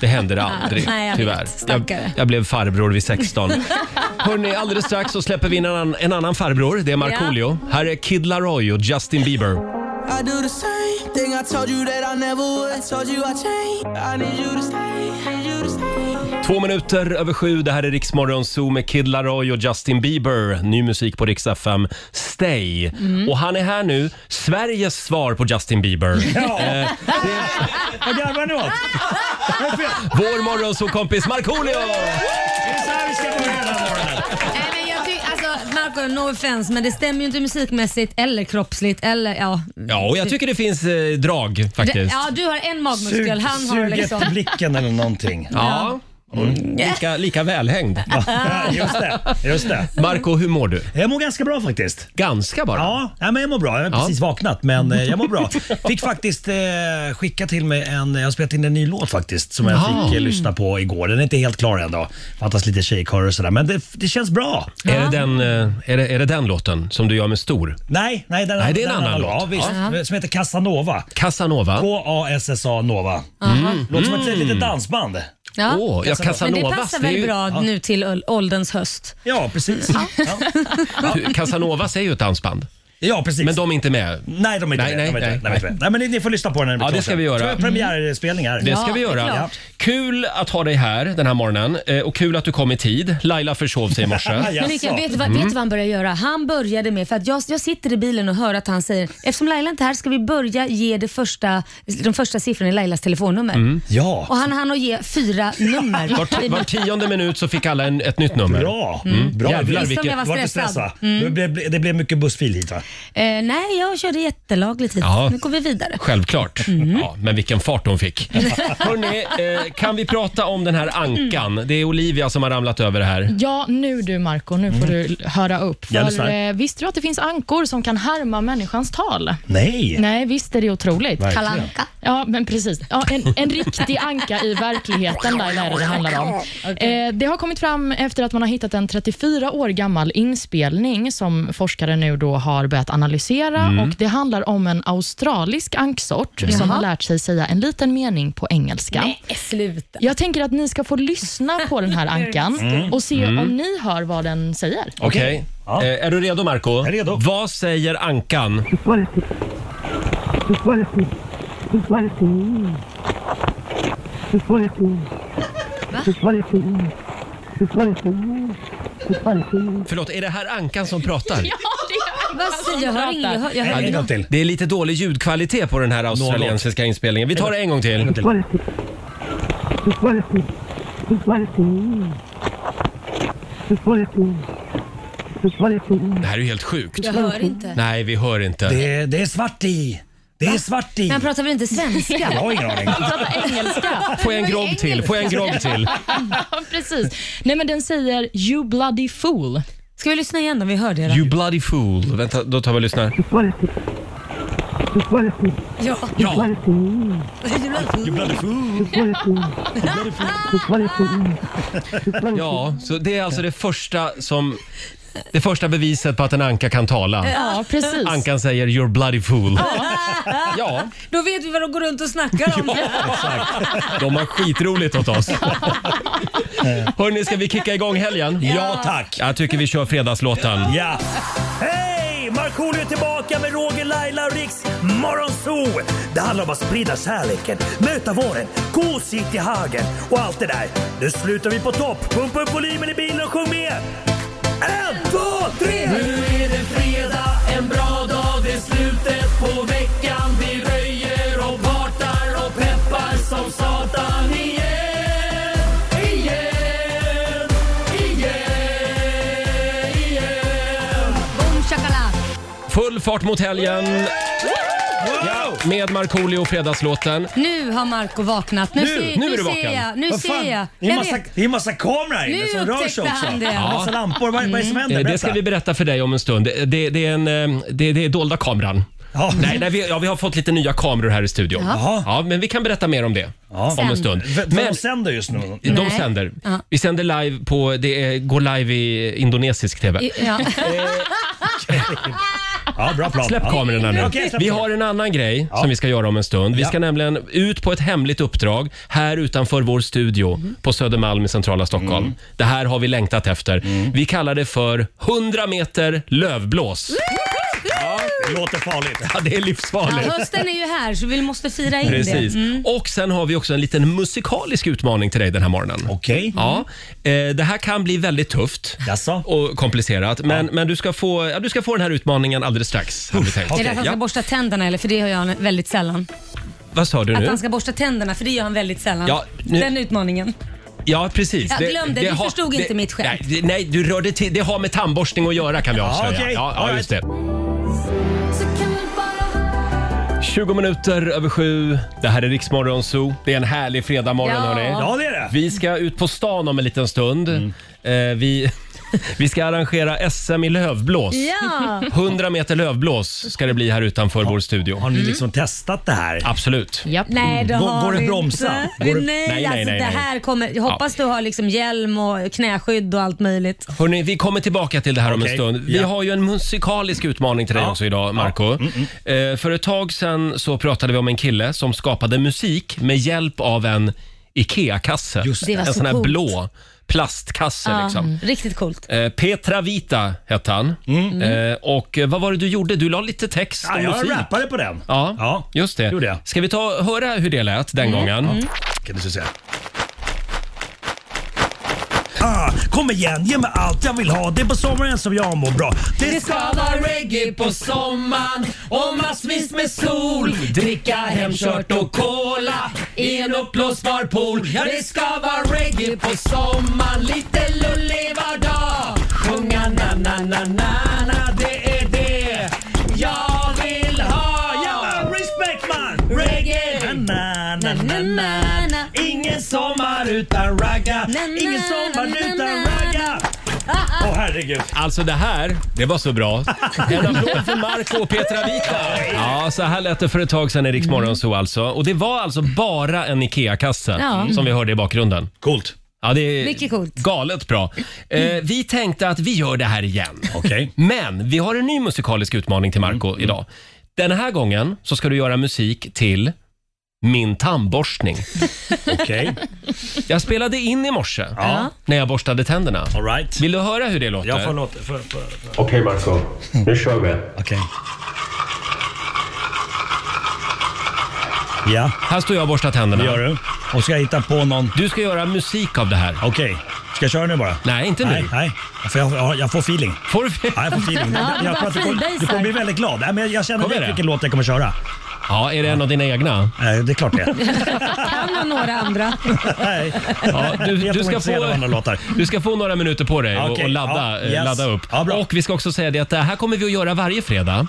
S1: Det händer aldrig,
S3: Nej, jag vet.
S1: tyvärr. Jag,
S3: Stackare.
S1: jag blev farbror vid 16. Hörni, alldeles strax så släpper vi in en annan, en annan farbror. Det är Markoolio. Här är Kid Laroi och Justin Bieber.
S7: I do the same thing I told you that I never would. I told you I changed. I need you to stay. Need you to stay.
S1: Två minuter över sju. Det här är Riksmorgon Zoo med Kid Laroi och Justin Bieber. Ny musik på Rix FM. Stay.
S3: Mm.
S1: Och han är här nu. Sveriges svar på Justin Bieber. Eh,
S8: Vad garvar ni åt?
S1: Vår morgonzoo-kompis Markoolio!
S8: Det är så här vi ska börja den här morgonen.
S3: Nej, men jag tycker, alltså, Marco, no offense, men det stämmer ju inte musikmässigt eller kroppsligt eller ja.
S1: Ja, och jag tycker det finns eh, drag
S3: Det,
S1: faktiskt.
S3: ja, du har en magmuskel, han har
S8: suget
S3: liksom...
S8: i blicken eller någonting.
S1: Ja. Mm.
S3: Mm.
S1: Lika, lika välhängd.
S8: Ja, just det. Just det.
S1: Marco, hur mår du?
S8: Jag mår ganska bra faktiskt.
S1: Ganska bara.
S8: Ja, ja, men jag mår bra. Jag har
S1: Ja.
S8: precis vaknat men eh, jag mår bra. Fick faktiskt eh, skicka till mig en, jag har spelat in en ny låt faktiskt som jag
S1: Jaha.
S8: fick eh, lyssna på igår. Den är inte helt klar än då. Fattas lite tjejkörer och sådär men det, det känns bra.
S1: Är, det den, eh, är, det, är det den låten som du gör med stor?
S8: Nej, nej, den,
S1: Nej, det är en
S8: den
S1: annan
S8: Ja,
S1: låt.
S8: visst. Som heter Casanova.
S1: Casanova? Åh,
S8: K-A-S-S-A Nova.
S1: Mm.
S8: Låter som ett litet dansband.
S3: Ja.
S1: ja,
S3: men
S1: Casanovas.
S3: det passar
S1: är
S3: väl
S1: ju,
S3: bra nu till öl- ålderns höst.
S8: Ja, precis. Ja,
S1: Du, Casanovas är ju ett dansband.
S8: ja precis.
S1: Men de är inte med.
S8: Nej, de är inte
S1: Nej, nej,
S8: nej, nej,
S1: nej,
S8: nej, nej, men ni- Ni får lyssna på den när den blir
S1: Ja, det
S8: klar
S1: ska
S8: sen.
S1: vi göra. Mm.
S8: Så vi har premiärspelningar.
S1: Det ska vi
S3: det är
S1: göra.
S3: klart.
S1: Kul att ha dig här den här morgonen eh, och kul att du kom i tid. Laila försov sig i morse.
S3: Men Mikael, vet, du vad,
S1: Mm.
S3: vet du vad han började göra? Han började med, för att jag, jag sitter i bilen och hör att han säger, eftersom Laila inte är här ska vi börja ge det första, de första siffrorna i Lailas telefonnummer.
S1: Mm.
S3: Och
S8: Ja,
S3: han hann att ge fyra nummer.
S1: Var, var tionde minut så fick alla en, ett nytt nummer.
S8: bra. Mm. bra.
S1: Jävlar,
S8: Visst,
S1: vilket-
S3: som jag var
S8: Var inte
S3: stressad. Mm.
S8: stressad. Det, blev, det blev mycket bussfil hit va?
S3: Eh, nej, jag körde jättelagligt hit.
S1: Ja.
S3: Nu går vi vidare.
S1: Självklart.
S8: Mm.
S1: Ja, men vilken fart hon fick. Hörrni, eh, kan vi prata om den här ankan?
S8: Mm.
S1: Det är Olivia som har ramlat över det här.
S2: Ja, nu du Marco, nu får du höra upp.
S8: Jag
S2: För,
S8: lyssnar.
S2: eh, visste du att Mm. det finns ankor som kan härma människans tal?
S8: Nej.
S2: Nej, visst är det otroligt.
S8: Verkligen.
S3: Kalanka.
S2: Ja, men precis. Ja, en, en riktig anka i verkligheten, där är det det handlar om. Eh, det har kommit fram efter att man har hittat en 34 år gammal inspelning som forskare nu då har börjat analysera. Och Det handlar om en australisk anksort som har lärt sig säga en liten mening på engelska.
S3: Nej, sluta.
S2: Jag tänker att ni ska få lyssna på den här ankan och se om ni hör vad den säger.
S1: Okej?
S8: Ja.
S1: Eh, är du redo Marco?
S8: är redo.
S1: Vad säger ankan? Förlåt, är det här ankan som pratar?
S2: Ja, det
S3: Vad säger jag? hör ingen- Jag hör, jag hör
S8: En
S3: ingen.
S8: gång till.
S1: Det är lite dålig ljudkvalitet på den här australiensiska inspelningen. Vi tar det en gång till. Det här är ju helt sjukt.
S3: Jag hör inte.
S1: Nej, vi hör inte.
S8: Det, är- det är svart i. Det är svart i.
S3: Men han pratar väl inte svenska?
S8: Jag har ingen aning.
S2: är engelska.
S1: Får jag en
S2: Men
S1: grogg till? Får jag en grogg till?
S2: Ja, Precis. Nej, men den säger “you bloody fool”.
S3: Ska vi lyssna igen om vi hör det då?
S1: You bloody fool. Vänta, då tar vi och lyssnar.
S3: Ja.
S1: Ja, ja, så det är alltså det första som... Det första beviset på att en anka kan tala.
S2: Ja, precis.
S1: Ankan säger “you're bloody fool”. Ja,
S3: Då vet vi vad de går runt och snackar om.
S1: de har skitroligt åt oss. Hörni, ska vi kicka igång helgen?
S8: Ja tack.
S1: Jag tycker vi kör fredagslåten.
S8: Ja. Hej! Markoolio är tillbaka med Roger, Laila och Riks Morgonzoo. Det handlar om att sprida kärleken, möta våren, gosigt i hagen och allt det där. Nu slutar vi på topp. Pumpa upp volymen i bilen och sjung med. En, två, tre! Nu är det fredag, en bra dag. Det är slutet på veckan. Vi röjer och partar och peppar som satan igen. Igen, igen, igen.
S3: Boom shakalaka.
S1: Full fart mot helgen
S8: Wow!
S1: med Markoolio och Fredagslåten.
S3: Nu har Marco vaknat. Nu,
S1: Nu-
S3: ser,
S1: nu är du
S3: ser
S1: vaken.
S3: jag. Nu
S8: Vad
S3: ser
S8: fan?
S3: jag.
S8: Det är
S3: jag
S8: en massa,
S3: vet.
S8: det är en massa kameror här
S3: Nu
S8: inne som rör sig
S3: upptäckte
S8: också.
S3: han det.
S8: En massa lampor. Vad, vad är det som händer?
S1: Eh, Det
S8: Berätta.
S1: ska vi berätta för dig om en stund. Det, det, det, är, en, eh, det, det är dolda kameran.
S8: Ja.
S1: Nej, nej vi, ja, vi har fått lite nya kameror här i studion.
S8: Jaha.
S1: Ja, men vi kan berätta mer om det
S8: Ja.
S1: om en
S3: Sen.
S1: stund.
S8: V- Men...
S1: Men,
S8: De sänder just nu.
S1: de
S3: Nej.
S1: sänder.
S3: Ja.
S1: Vi sänder live på, det är, går live i indonesisk TV.
S3: Ja.
S8: Ja, bra plan.
S1: Släpp
S8: ja.
S1: kamerorna nu.
S8: Okej, släpp
S1: Vi
S8: kamerorna.
S1: har en annan grej som vi ska göra om en stund. Vi ska nämligen ut på ett hemligt uppdrag här utanför vår studio på Södermalm i centrala Stockholm.
S8: Mm.
S1: Det här har vi längtat efter. Vi kallar det för 100 meter lövblås.
S8: Mm. Det låter farligt.
S1: Ja, det är
S3: Ja,
S1: livsfarligt.
S3: hösten är ju här så vi måste fira in
S1: Precis.
S3: det.
S8: Mm.
S1: Och sen har vi också en liten musikalisk utmaning till dig den här morgonen.
S8: Okej.
S1: Ja, eh, det här kan bli väldigt tufft
S8: Jaså?
S1: och komplicerat. Men, men du, ska få, ja, du ska få den här utmaningen alldeles strax. hade vi tänkt.
S3: Är det att han ska
S1: Ja.
S3: borsta tänderna eller? För det gör jag väldigt sällan.
S1: Vad sa du
S3: Att
S1: nu?
S3: han ska borsta tänderna för det gör han väldigt sällan.
S1: Ja, nu-
S3: Den utmaningen.
S1: Ja, precis.
S3: Jag glömde, du förstod inte mitt skämt.
S1: Nej, det- nej, du rörde till. Det har med tandborstning att göra kan vi avslöja.
S8: okej.
S1: Ja, ja,
S8: All right.
S1: just det. 20 minuter över sju. Det här är Riksmorgon Zoo. Det är en härlig fredagmorgon
S3: Ja.
S1: hörni.
S8: Ja, det är det.
S1: Vi ska ut på stan om en liten stund. Eh, vi, vi ska arrangera SM i lövblås.
S3: Ja!
S1: 100 meter lövblås ska det bli här utanför vår studio.
S8: Har ni liksom testat det här?
S1: Absolut.
S2: Japp.
S3: Nej, det
S8: Mm. Går-
S3: har
S8: går det
S3: vi
S8: bromsa?
S3: inte.
S8: Går det-
S3: Nej,
S1: nej,
S3: alltså
S1: nej,
S3: det
S1: nej.
S3: här kommer... Jag hoppas du har liksom hjälm och knäskydd och allt möjligt.
S1: Hörrni, vi kommer tillbaka till det här om en
S8: Okej,
S1: stund. Vi
S8: ja.
S1: har ju en musikalisk utmaning till dig
S8: Ja. Mm,
S1: också idag, Marco. Eh, för ett tag sedan så pratade vi om en kille som skapade musik med hjälp av en IKEA-kasse.
S8: Just
S3: det. Det
S1: en
S3: var så
S1: sån här
S3: coolt. Ah.
S1: blå plastkasse liksom.
S3: Riktigt coolt.
S1: Eh, Petra Vita hette han.
S3: Mm.
S1: Eh, och eh, vad var det du gjorde? Du la lite text
S8: Mm. Ja,
S1: och musik.
S8: jag rappade på den.
S1: Ja,
S8: ja.
S1: just det.
S8: Gjorde jag.
S3: Mm.
S1: Ska vi ta höra hur det lät den gången?
S8: Kan du se. Ah, kom igen, ge mig allt jag vill ha. Det är på sommaren som jag mår bra. Det ska
S1: vara reggae på sommaren och massvis med sol. Dricka hemkört och cola i en uppblåsbar pool. Ja, det ska vara reggae på sommaren, lite lullig var dag. Sjunga na-na-na-na-na, det är det jag vill ha.
S8: Ja, respect man!
S1: Reggae!
S8: Na, na, na,
S3: Na,
S8: na.
S3: na, na.
S8: Ingen sommar utan ragga.
S3: Na, na,
S8: Ingen sommar
S3: na, na,
S8: utan
S3: na.
S8: ragga. Åh herregud.
S1: Alltså det här, det var så bra. En applåd för Marco och Petra Vita. Ja, så här lät det för ett tag sedan i Rix Morgonzoo alltså. Och det var alltså bara en IKEA-kasse
S2: Ja.
S1: som vi hörde i bakgrunden.
S8: Coolt.
S1: Ja, det är
S3: Mycket coolt.
S1: galet bra. Eh, vi tänkte att vi gör det här igen.
S8: Okej.
S1: Men vi har en ny musikalisk utmaning till Marco idag. Den här gången så ska du göra musik till Min tandborstning.
S8: Okej.
S1: Jag spelade in i morse
S8: Ja.
S1: när jag borstade tänderna.
S8: All right.
S1: Vill du höra hur det låter?
S8: Jag får låta... För, för, för.
S9: Okej Marco, nu kör vi.
S8: Okej. Ja,
S1: Här står jag och borstar tänderna.
S8: det gör du. Och ska jag hitta på någon...
S1: Du ska göra musik av det här.
S8: Okej. Ska jag köra nu bara?
S1: Nej, inte
S8: Nej,
S1: nu.
S8: nej. För jag, jag, jag får feeling.
S1: Får du...
S8: Ja, jag får feeling.
S2: Ja, bara
S8: jag tror att du, kommer, du kommer bli väldigt glad. Nej, men jag känner
S1: Kommer
S8: direkt
S1: det?
S8: vilken låt jag kommer köra.
S1: Ja, är det en av dina egna?
S8: Eh, Det är klart det.
S3: Kan och några andra.
S8: Nej.
S1: Ja, du,
S8: Jag är
S1: du, ska
S8: ointresserad av
S1: få,
S8: andra låtar.
S1: du ska få några minuter på dig och,
S8: Okej,
S1: och ladda,
S8: ja,
S1: eh,
S8: yes.
S1: ladda upp.
S8: Ja, bra.
S1: och vi ska också säga det att det här kommer vi att göra varje fredag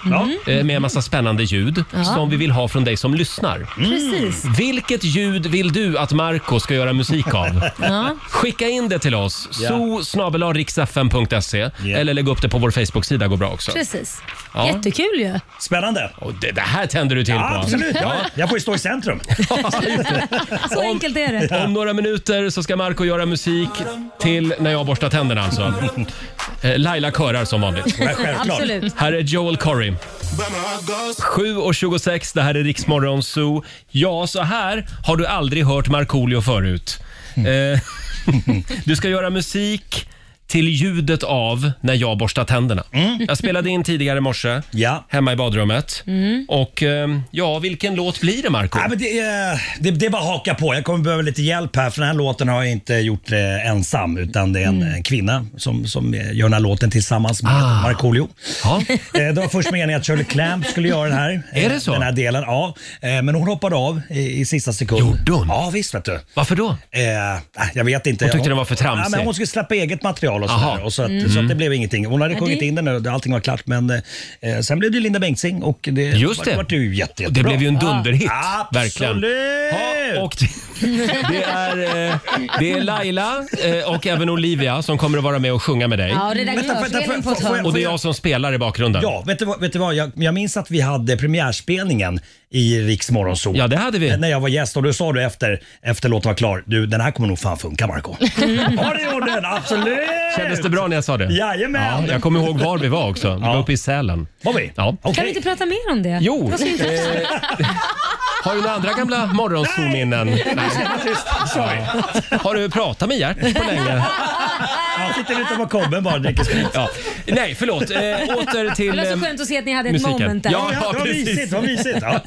S1: eh, med en massa spännande ljud som vi vill ha från dig som lyssnar.
S3: Precis.
S1: Vilket ljud vill du att Marco ska göra musik av?
S2: Ja.
S1: Skicka in det till oss.
S8: Ja.
S1: Yeah. eller lägg upp det på vår Facebook-sida går bra också.
S3: Precis.
S1: Ja.
S3: Jättekul ju.
S8: Spännande.
S1: Och det, det här tänder du till på.
S8: Ja, absolut. Ja, jag får ju stå i centrum.
S3: Så enkelt är det.
S1: Om några minuter så ska Marco göra musik till när jag borstar tänderna alltså. Eh, Laila körar som vanligt.
S8: Men självklart.
S3: Absolut.
S1: Här är Joel Corry. 7.26, det här är Riksmorgon Zoo. Ja, så här har du aldrig hört Markoolio förut.
S8: Mm.
S1: Eh, du ska göra musik till ljudet av när jag borstar tänderna.
S8: Mm.
S1: Jag spelade in tidigare i morse
S8: Ja.
S1: hemma i badrummet. Och eh, ja, vilken låt blir det Marco?
S8: Nej, Mm. men det, är, det, det är bara att haka på. Jag kommer behöva lite hjälp här för den här låten har jag inte gjort eh, ensam utan det är en eh, kvinna som, som eh, gör den här låten tillsammans med
S1: Mm. Ah.
S8: Markoolio.
S1: Ja.
S8: Eh, Det var först meningen att Shirley Clamp skulle göra den här.
S1: Är
S8: eh,
S1: det så?
S8: Den här delen, ja. Eh, Men hon hoppade av i, i sista sekund.
S1: Gjorde hon?
S8: Ja, visst vet du.
S1: Varför då?
S8: Eh, äh, jag vet inte.
S1: Hon tyckte den var för tramsig.
S8: Ja, men hon skulle släppa eget material och,
S1: Aha. Mm.
S8: sådär, och så, att, så att det blev ingenting. Hon hade sjungit in den och allting var klart men eh, sen blev det Linda Bengtzing och det,
S1: Just det.
S8: var, vart ju jätte,
S1: Och det
S8: jättebra.
S1: blev ju en dunderhit.
S8: Absolut!
S1: Verkligen. Ja, och det- det, är, eh, det är Laila eh, och även Olivia som kommer att vara med och sjunga med dig.
S3: Ja,
S8: Vänta, vänta,
S3: redaktörsregeln på ett
S8: får- får
S3: hörn.
S8: jag-
S1: Och det är jag som spelar i bakgrunden.
S8: Ja, vet du vad? Vet du vad? Jag, jag minns att vi hade premiärspelningen i Riks Morgonzoo.
S1: Ja, det hade vi.
S8: Eh, När jag var gäst och du sa du efter, efter låten var klar, du den här kommer nog fan funka Marco
S3: Mm.
S8: Ja det gjorde den, absolut!
S1: Kändes det bra när jag sa det?
S8: Jajamän!
S1: Ja, jag kommer ihåg var vi var också. Vi var
S8: Ja.
S1: uppe i Sälen.
S8: Var vi?
S1: Ja.
S8: Okej.
S3: Kan vi inte prata mer om det?
S1: Jo, eh,
S3: Vad ska vi prata om?
S1: har du några andra gamla morgonzoominnen? Har du pratat med Gert på länge?
S8: Han sitter ute på kobben bara och dricker sprit.
S1: Ja. Nej, förlåt. Eh, åter
S3: Det
S1: till...
S3: var så
S1: ehm,
S3: skönt att se att ni hade ett
S1: musiken.
S3: moment där.
S1: Ja.
S8: Ja, det var
S1: precis.
S8: mysigt. det var mysigt. Ja,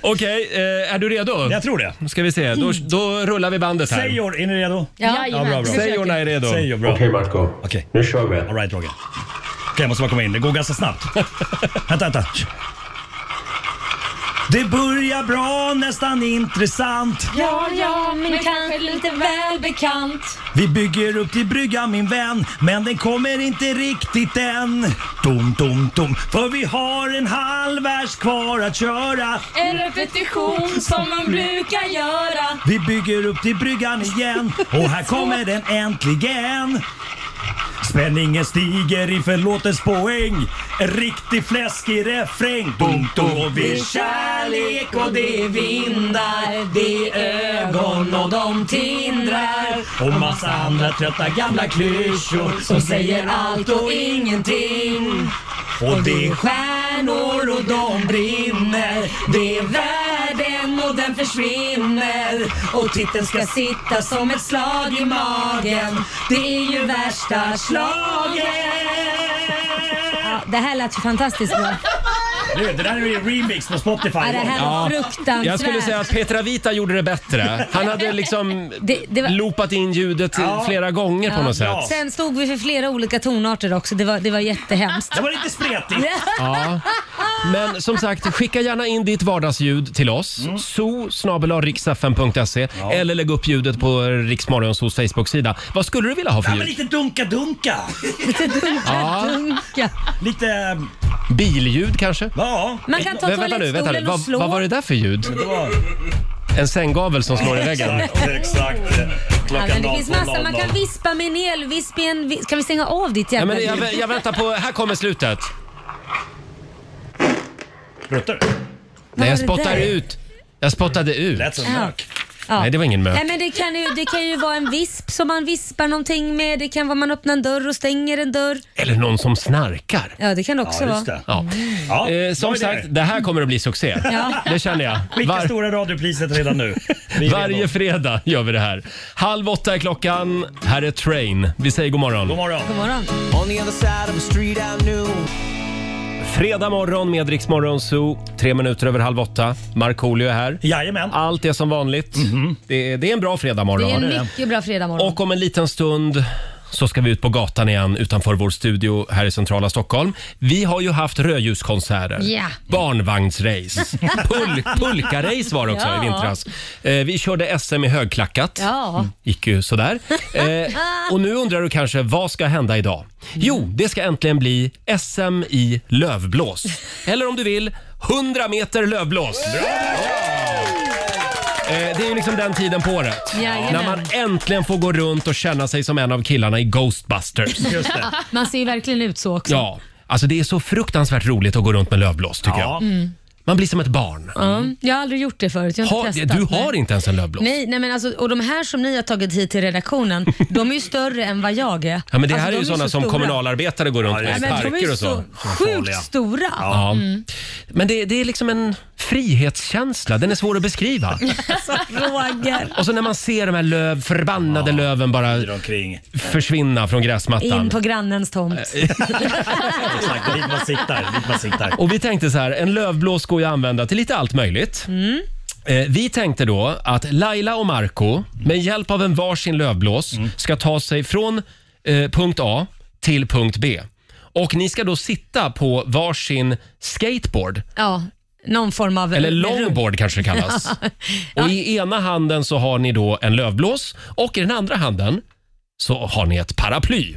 S1: Okej, eh, är du redo?
S8: jag tror det.
S1: Nu ska vi se, då, då rullar vi bandet här.
S8: Säg Jor, är ni redo?
S3: Ja.
S2: Jajamän.
S8: bra, bra.
S2: Försöker.
S1: Säg Jorna är redo.
S8: Säg Jor, bra.
S9: Okej Marco,
S8: Okej.
S9: nu kör vi.
S8: All right Roger. Okej, jag måste bara komma in. Det går ganska snabbt. vänta, vänta. Det börjar bra, nästan intressant.
S3: Ja, ja, men kanske lite väl bekant.
S8: Vi bygger upp till brygga min vän, men den kommer inte riktigt än. Tom, tom, tom. För vi har en halv vers kvar att köra.
S3: En repetition som man brukar göra.
S8: Vi bygger upp till bryggan igen och här kommer den äntligen. Spänningen stiger inför låtens poäng. En riktig fläskig refräng. Dum, dum. Och vi är kärlek och det är vindar. Det är ögon och de tindrar. Och massa andra trötta gamla klyschor som säger allt och ingenting. Och det är stjärnor och de brinner. Det är världen och den försvinner. Och titeln ska sitta som ett slag i magen. Det är ju värsta slaget.
S3: Ja, det här lät ju fantastiskt bra.
S8: Nu, det där är ju en remix på Spotify.
S3: Ja, det här är fruktansvärt.
S1: Jag skulle säga att Petra Vita gjorde det bättre. Han hade liksom
S3: Det- det var-
S1: loopat in ljudet
S8: Ja.
S1: flera gånger på
S3: Ja.
S1: något sätt.
S8: Ja.
S3: Sen stod vi för flera olika tonarter också. Det var, det var jättehemskt.
S8: Det var lite spretigt.
S1: Ja. Men som sagt, skicka gärna in ditt vardagsljud till oss. Mm. eller lägg upp ljudet på Riksmorgonsos Facebook-sida. Vad skulle du vilja ha
S8: Ja,
S1: för
S8: men
S1: ljud?
S8: lite dunka-dunka.
S3: Dunka.
S8: Lite... eh,
S1: Billjud kanske?
S8: Ja.
S3: Man kan ta
S1: Vä- Vänta nu, vänta nu.
S3: toalettstolen och
S1: Vad,
S3: slå.
S1: vad var det där för ljud?
S8: Det var...
S1: En sänggavel som slår i väggen?
S8: Exakt, exakt.
S3: Ja,
S8: Klockan
S3: men det finns massa. Man
S8: 18.00.
S3: kan vispa med en elvisp i en... vi- Kan vi stänga av ditt
S1: Ja,
S3: jävla
S1: men jag,
S3: ljud?
S1: vä- jag väntar på... Här kommer slutet.
S8: Pruttar du?
S1: Nej, jag
S3: det
S1: spottar
S3: där?
S1: ut. Jag spottade ut.
S8: Lät som
S3: Ja.
S8: mök.
S3: Ja.
S1: Nej, det var ingen mök.
S3: Nej, men det, kan ju, det kan ju vara en visp som man vispar någonting med. Det kan vara man öppnar en dörr och stänger en dörr.
S1: Eller någon som snarkar.
S3: Ja, det kan det också
S8: Ja, just
S3: vara.
S8: det.
S1: Ja.
S3: Mm.
S8: Ja,
S1: Eh,
S8: bra
S1: som
S8: idéer.
S1: sagt, det här kommer att bli succé.
S3: Ja.
S1: Det känner jag.
S8: Skicka
S1: Var-
S8: stora radiopriset redan nu. Vi är
S1: Varje
S8: redo.
S1: fredag gör vi det här. Halv åtta är klockan. Här är Train. Vi säger god morgon.
S8: God morgon.
S3: God morgon.
S7: On the other side of the street I knew.
S1: Fredag morgon med Rix Morgon Zoo. Tre minuter över halv åtta. Markoolio är här.
S8: Jajamän.
S1: Allt är som vanligt. Det, är, det är en bra fredag morgon.
S3: Det är en mycket bra fredagmorgon.
S1: Och om en liten stund så ska vi ut på gatan igen utanför vår studio här i centrala Stockholm. Vi har ju haft rödljuskonserter,
S3: Ja.
S1: barnvagnsrace, pul pulkarace var det också
S3: Ja.
S1: i vintras. Eh, vi körde SM i högklackat.
S3: Ja.
S1: Mm, Gick ju sådär. Eh, och nu undrar du kanske, vad ska hända idag? Jo,
S3: Mm.
S1: det ska äntligen bli SM i lövblås. Eller om du vill, 100 meter lövblås. Eh, Det är ju liksom den tiden på året.
S3: Jajamän.
S1: När man äntligen får gå runt och känna sig som en av killarna i Ghostbusters.
S8: Just det.
S3: Man ser ju verkligen ut så också.
S1: Ja, alltså det är så fruktansvärt roligt att gå runt med lövblås tycker
S8: Ja.
S1: jag. Man blir som ett barn.
S3: Mm. Jag har aldrig gjort det förut. Jag har
S1: Ha,
S3: inte testat.
S1: du har
S3: Nej.
S1: inte ens en lövblås.
S3: Nej, nej men alltså, och de här som ni har tagit hit till redaktionen, de är ju större än vad jag är.
S1: Ja, men det här
S3: Alltså, de
S1: är ju sådana som
S3: stora.
S1: kommunalarbetare går runt
S8: Ja,
S1: med
S3: Nej,
S1: i
S8: just det.
S3: men de är
S1: parker
S3: ju
S1: och
S3: så
S1: så.
S3: sjukt
S8: farliga.
S3: stora.
S1: Ja.
S3: Mm.
S1: Men det, det är liksom en frihetskänsla. Den är svår att beskriva.
S3: Roger.
S1: Och så när man ser de här löv, förbannade löven bara
S8: Dra omkring.
S1: försvinna från gräsmattan.
S3: In på grannens tomt.
S1: Eh,
S8: Exakt, det är dit man siktar. Dit man siktar.
S1: Och vi tänkte så här, en lövblås går ju att använda till lite allt möjligt.
S3: Mm.
S1: Eh, Vi tänkte då att Laila och Marco
S3: Mm.
S1: med hjälp av en varsin lövblås ska ta sig från eh, punkt A till punkt B. Och ni ska då sitta på varsin skateboard,
S3: Ja, någon form av...
S1: eller longboard kanske det kallas. Och i ena handen så har ni då en lövblås och i den andra handen så har ni ett paraply.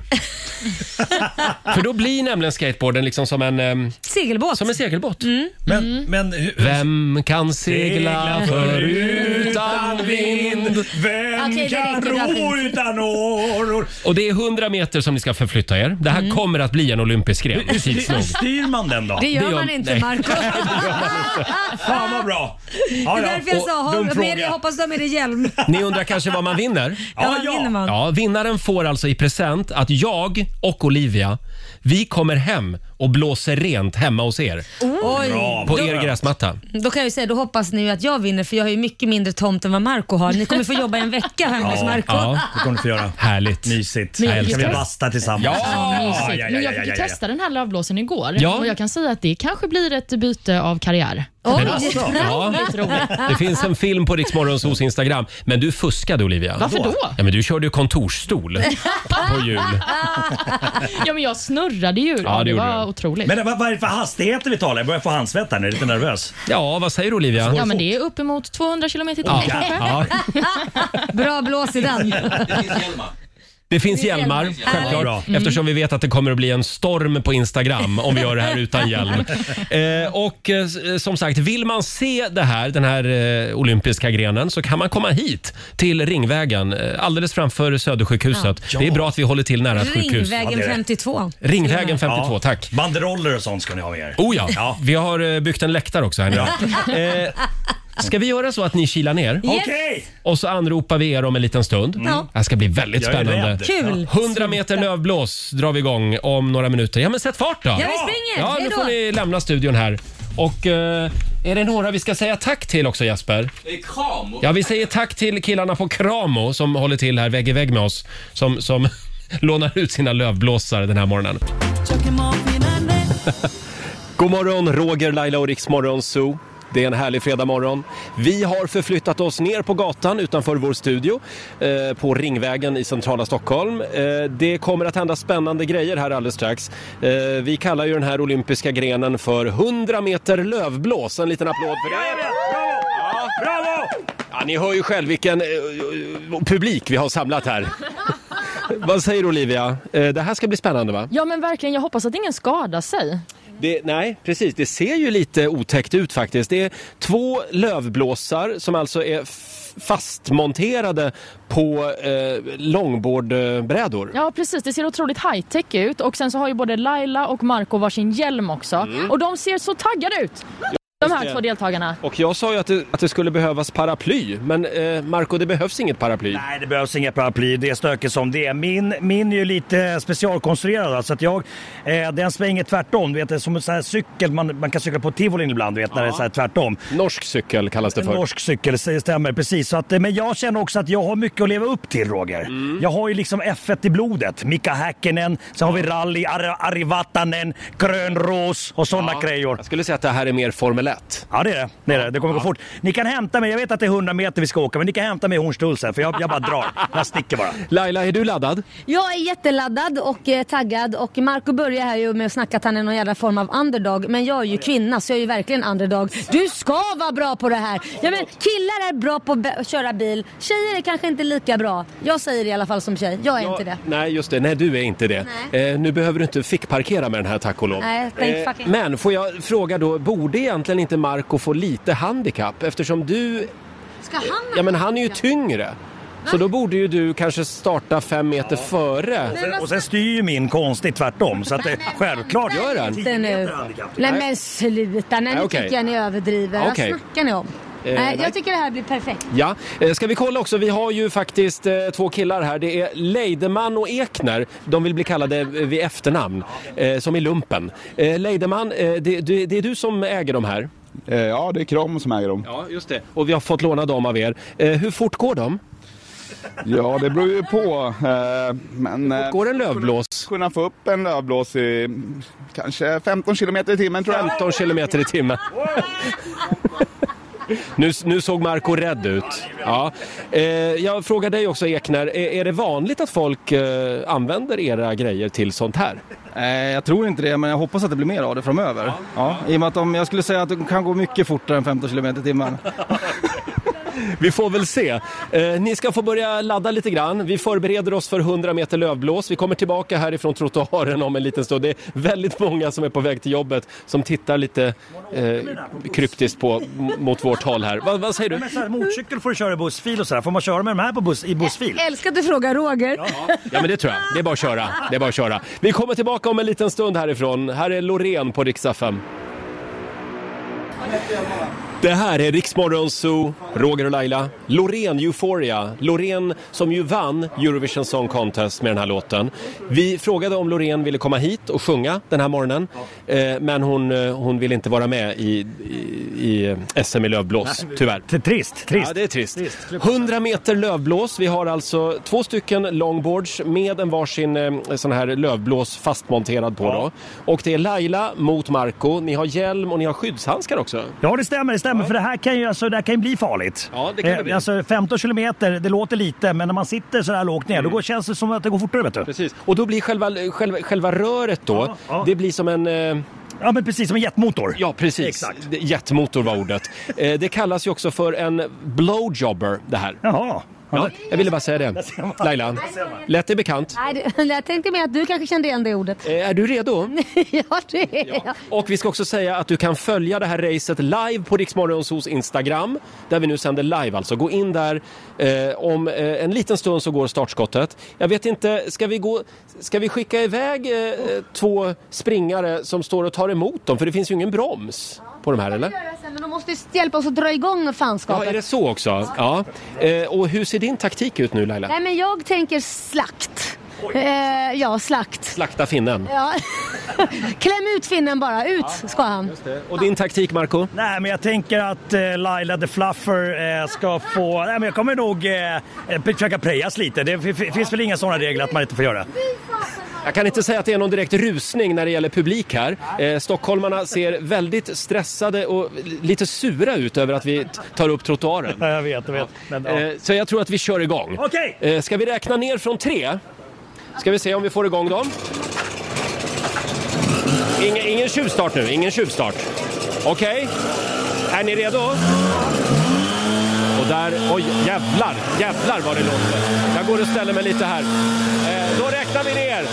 S1: För då blir nämligen skateboarden liksom som en, eh,
S3: Segelbåt.
S1: som en segelbåt.
S8: Men,
S3: Mm.
S8: men hur...
S1: Vem kan segla förutan vind?
S8: Vem
S3: Okej, det
S8: kan
S3: räcker, det har
S8: ro
S3: skett.
S8: utan åror?
S1: Och det är 100 meter som ni ska förflytta er. Det här kommer att bli en olympisk gren tids nog.
S8: Hur styr man den då?
S3: Det gör
S1: Det gör-
S3: man inte
S1: nej.
S3: Marco.
S8: Fan vad bra! Ja,
S3: Det är
S8: ja.
S3: därför jag
S8: Och
S3: sa, ha
S8: dum
S3: med
S8: fråga.
S3: dig, jag hoppas du har med dig hjälm.
S1: Ni undrar kanske vad man vinner?
S3: Ja,
S8: Ja,
S3: vad
S8: ja.
S3: vinner man?
S1: Ja, vinnaren får alltså i present att jag och Olivia, vi kommer hem och blåser rent hemma hos er
S3: Oj.
S8: Bra,
S1: på
S8: bra.
S1: er gräsmatta.
S3: Då kan jag ju säga, då hoppas ni ju att jag vinner för jag har ju mycket mindre tomt än vad Marco har. Ni kommer få jobba en vecka hemma hos Marco.
S1: Ja,
S8: Det kommer du få göra.
S1: härligt.
S8: Mysigt.
S1: Jag
S8: Kan
S1: älskar
S8: vi
S1: det.
S8: basta tillsammans?
S1: Ja.
S8: Ja,
S2: Mysigt.
S8: ja,
S2: Men
S8: ja,
S2: jag
S8: ja,
S2: fick
S8: ja,
S2: ju
S8: ja.
S2: testa den här lövblåsen igår
S1: Ja.
S2: och jag kan säga att det kanske blir ett byte av karriär.
S3: Oj.
S8: alltså.
S1: Ja.
S2: Lite roligt.
S1: Det finns en film på Riksmorgonsos Instagram. Men du fuskade Olivia.
S2: Varför då?
S1: Ja, men du körde ju kontorsstol på jul.
S2: Ja, men jag snurrade ju. Ja, det
S1: gjorde
S2: var
S1: du.
S2: otroligt.
S8: Men vad vad är det för hastigheter vi talar? Jag börjar få handsvett här nu, jag är lite nervös.
S1: Ja, vad säger du, Olivia?
S2: Ja, men det är uppemot 200 kilometer i timmen kanske.
S1: Ja,
S3: Bra blås i den.
S6: Det finns hjälmar.
S1: det finns hjälmar,
S6: Härligt.
S1: självklart.
S8: Bra. Mm.
S1: Eftersom vi vet att det kommer att bli en storm på Instagram om vi gör det här utan hjälm. Eh, och eh, s- som sagt, vill man se det här, den här eh, olympiska grenen så kan man komma hit till Ringvägen eh, alldeles framför Södersjukhuset. Det är bra att vi håller till nära ett sjukhus.
S3: Ringvägen
S8: Ja, det är det.
S3: 52.
S1: Ringvägen 52,
S8: Ja.
S1: tack.
S8: Banderoller och sånt ska ni ha med er.
S1: Oh ja.
S8: Ja.
S1: vi har eh, byggt en läktare också här nere. Eh, ska vi göra så att ni kilar ner
S3: Yes.
S8: Okej!
S1: och så anropar vi er om en liten stund? Det här ska bli väldigt
S8: Jag är
S1: spännande.
S8: rädd.
S3: Kul.
S1: 100 meter lövblås drar vi igång om några minuter. Ja, men sätt fart då!
S3: Ja, vi springer.
S1: Ja,
S3: Hej
S1: nu
S3: då.
S1: får ni lämna studion här. Och eh, är det några vi ska säga tack till också Jesper?
S6: Det är kram och
S1: Ja, vi säger tack till killarna på Kramo som håller till här vägg i vägg med oss. Som, som lånar ut sina lövblåsare den här morgonen. God morgon, Roger, Laila och Riksmorgon Zoo. Det är en härlig fredagmorgon. Vi har förflyttat oss ner på gatan utanför vår studio eh, på Ringvägen i centrala Stockholm. Eh, det kommer att hända spännande grejer här alldeles strax. Eh, vi kallar ju den här olympiska grenen för 100 meter lövblås. En liten applåd för det.
S8: Bravo! Bravo!
S1: Ja, ni hör ju själv vilken eh, eh, publik vi har samlat här. Vad säger Olivia? Eh, det här ska bli spännande va?
S2: Ja, men verkligen. Jag hoppas att ingen skadar sig.
S1: Det, nej, precis. Det ser ju lite otäckt ut faktiskt. Det är två lövblåsar som alltså är f- fastmonterade på eh, långbordbrädor.
S2: Ja, precis. Det ser otroligt high-tech ut. Och sen så har ju både Laila och Marco varsin hjälm också.
S8: Mm.
S2: Och de ser så taggade ut, de här
S1: det.
S2: två deltagarna.
S1: Och jag sa ju att det, att det skulle behövas paraply, men eh, Marco, det behövs inget paraply.
S8: Nej, det behövs inga paraply. Det är stökigt som det är. Min, min är ju lite specialkonstruerad. va, Så att jag, eh, den svänger tvärtom. Du vet, det är som en sån här cykel. Man, man kan cykla på tivolin ibland, du vet, när det är så här tvärtom.
S1: Norsk cykel kallas det för.
S8: Norsk cykel, så det stämmer precis. Så att, eh, men jag känner också att jag har mycket att leva upp till Roger. Jag har ju liksom F1 i blodet. Mika Häkkinen, sen har vi rally, Ar- Ari Vatanen, Krönros och sådana grejor.
S1: Jag skulle säga att det här är mer Formel 1.
S8: Ja det är det. Det, är det. det kommer gå fort. Ni kan hämta mig, jag vet att det är 100 meter vi ska åka, men ni kan hämta mig i Hornstull sen för jag, jag bara drar. Jag sticker bara.
S1: Laila, är du laddad?
S3: Jag är jätteladdad och eh, taggad och Marco börjar här ju med att snacka att han är någon jävla form av underdog. Men jag är ju kvinna så jag är ju verkligen underdog. Du ska vara bra på det här! Ja, men, killar är bra på be- att köra bil, tjejer är kanske inte lika bra. Jag säger det i alla fall som tjej, jag är inte det.
S1: Nej, just det. Nej, du är inte det.
S3: Nej.
S1: Eh, nu behöver du inte fickparkera med den här, tack och lov. Eh,
S3: Nej, thank fucking-
S1: men får jag fråga då, borde egentligen inte Marco få lite handikapp? Eftersom du
S3: Ska han
S1: Ja men han är ju typ- tyngre. Så då borde ju du kanske starta fem meter före.
S8: Och sen styr ju min konstigt tvärtom. Så att det, självklart.
S1: Gör han?
S3: inte nu. Nej men sluta, nej, nu
S1: Okej.
S3: tycker jag ni överdriver. Vad
S1: Okej.
S3: snackar ni om?
S1: Eh,
S3: nej,
S1: nej.
S3: jag tycker det här blir perfekt.
S1: Ja, eh, ska vi kolla också, vi har ju faktiskt eh, två killar här. Det är Leideman och Ekner, de vill bli kallade eh, vid efternamn, eh, som i lumpen. Eh, Leideman, eh, det, det, det är du som äger de här.
S10: Eh, Ja, det är Kram som äger dem.
S1: Ja, just det. Och vi har fått låna dem av er. Eh, hur fort går de?
S10: Ja, det beror ju på. eh, Men eh,
S1: Går en lövblås?
S10: kunna få upp en lövblås i mm, kanske 15 kilometer i timmen tror jag.
S1: 15 kilometer i timmen. Nu, nu såg Marco rädd ut. Ja. Eh, jag frågar dig också Ekner, är, är det vanligt att folk eh, använder era grejer till sånt här?
S11: Nej, jag tror inte det, men jag hoppas att det blir mer av det framöver. Ja, I och med att de, jag skulle säga att de kan gå mycket fortare än 15 km i timmen.
S1: Vi får väl se. Eh, ni ska få börja ladda lite grann. Vi förbereder oss för 100 meter lövblås. Vi kommer tillbaka härifrån trottoaren om en liten stund. Det är väldigt många som är på väg till jobbet som tittar lite eh, kryptiskt på, mot vårt håll här. Vad- vad säger du?
S8: Men så här, motorcykel får du köra i bussfil och sådär. Får man köra med de här på buss, i bussfil?
S3: Jag älskar att du frågar Roger.
S1: Ja men det tror jag. Det är bara att köra. Det är bara att köra. Vi kommer tillbaka om en liten stund härifrån. Här är Loreen på riksdag 5. Det här är Riksmorgon Zoo, Roger och Laila. Loreen Euphoria. Loreen som ju vann Eurovision Song Contest med den här låten. Vi frågade om Loreen ville komma hit och sjunga den här morgonen. Eh, men hon, eh, hon vill inte vara med i, i, i SM i lövblås, tyvärr.
S8: Det är Trist, trist.
S1: Ja, det är trist. 100 meter lövblås. Vi har alltså två stycken longboards med en varsin eh, sån här lövblås fastmonterad på då. Och det är Laila mot Marco. Ni har hjälm och ni har skyddshandskar också.
S8: Ja det stämmer, det stämmer. För det här kan ju, alltså, det här kan ju bli farligt.
S1: Ja, det kan det bli.
S8: Alltså 15 kilometer, det låter lite men när man sitter så här lågt ner då går, känns det som att det går fortare vet du.
S1: Mm. Precis. Och då blir själva, eh, själva, själva röret då,
S8: Ja, ja.
S1: det blir som en... Eh,
S8: Ja men precis, som en jetmotor.
S1: ja, precis.
S8: Exakt.
S1: Det- Jetmotor var ordet. Eh, det kallas ju också för en blowjobber det här.
S8: Jaha.
S1: Ja,
S8: Alltså,
S1: jag ville bara säga det. Laila, lät det bekant?
S3: Nej, det- jag tänkte mer att du kanske kände igen det ordet.
S1: Eh, är du redo?
S3: ja, det är jag.
S1: Och vi ska också säga att du kan följa det här racet live på Riksmorgonsos Instagram, där vi nu sänder live alltså. Gå in där. Eh, om eh, en liten stund så går startskottet. Jag vet inte, ska vi, gå, ska vi skicka iväg eh, eh, två springare som står och tar emot dem? För det finns ju ingen broms på de här, eller?
S3: Men de måste hjälpa oss att dra igång
S1: Ja,
S3: fanskapet.
S1: är det så också? Ja. Eh, och hur ser din taktik ut nu Laila?
S3: Nej, men jag tänker slakt. Eh, ja, slakt.
S1: Slakta finnen.
S3: Ja. Kläm ut finnen bara, ut ska han.
S1: Och din taktik Marco?
S8: Nej men jag tänker att eh, Laila the Fluffer eh, ska få... Nej men jag kommer nog eh, eh, försöka prejas lite. Det f- f- finns väl inga sådana regler att man inte får göra.
S1: Jag kan inte säga att det är någon direkt rusning när det gäller publik här. Eh, stockholmarna ser väldigt stressade och lite sura ut över att vi t- tar upp trottoaren.
S8: Ja, jag vet, jag vet. Men, ja.
S1: Eh, så jag tror att vi kör igång.
S8: Okej.
S1: Eh, ska vi räkna ner från tre? Ska vi se om vi får igång dem? Ingen, ingen tjuvstart nu, ingen tjuvstart. Okej, är ni redo? Och där, oj jävlar, jävlar vad det låter. Jag går och ställer mig lite här. Eh, då räknar vi ner.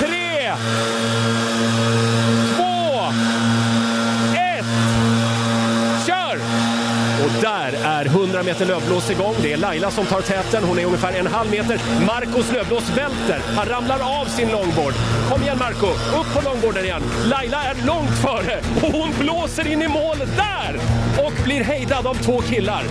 S1: Tre, två, ett, kör! Och där är 100 meter löpblås igång. Det är Laila som tar täten. Hon är ungefär en halv meter. Marcos löpblås välter. Han ramlar av sin longboard. Kom igen Marco, upp på longboarden igen. Laila är långt före och hon blåser in i mål där! Och blir hejdad av två killar.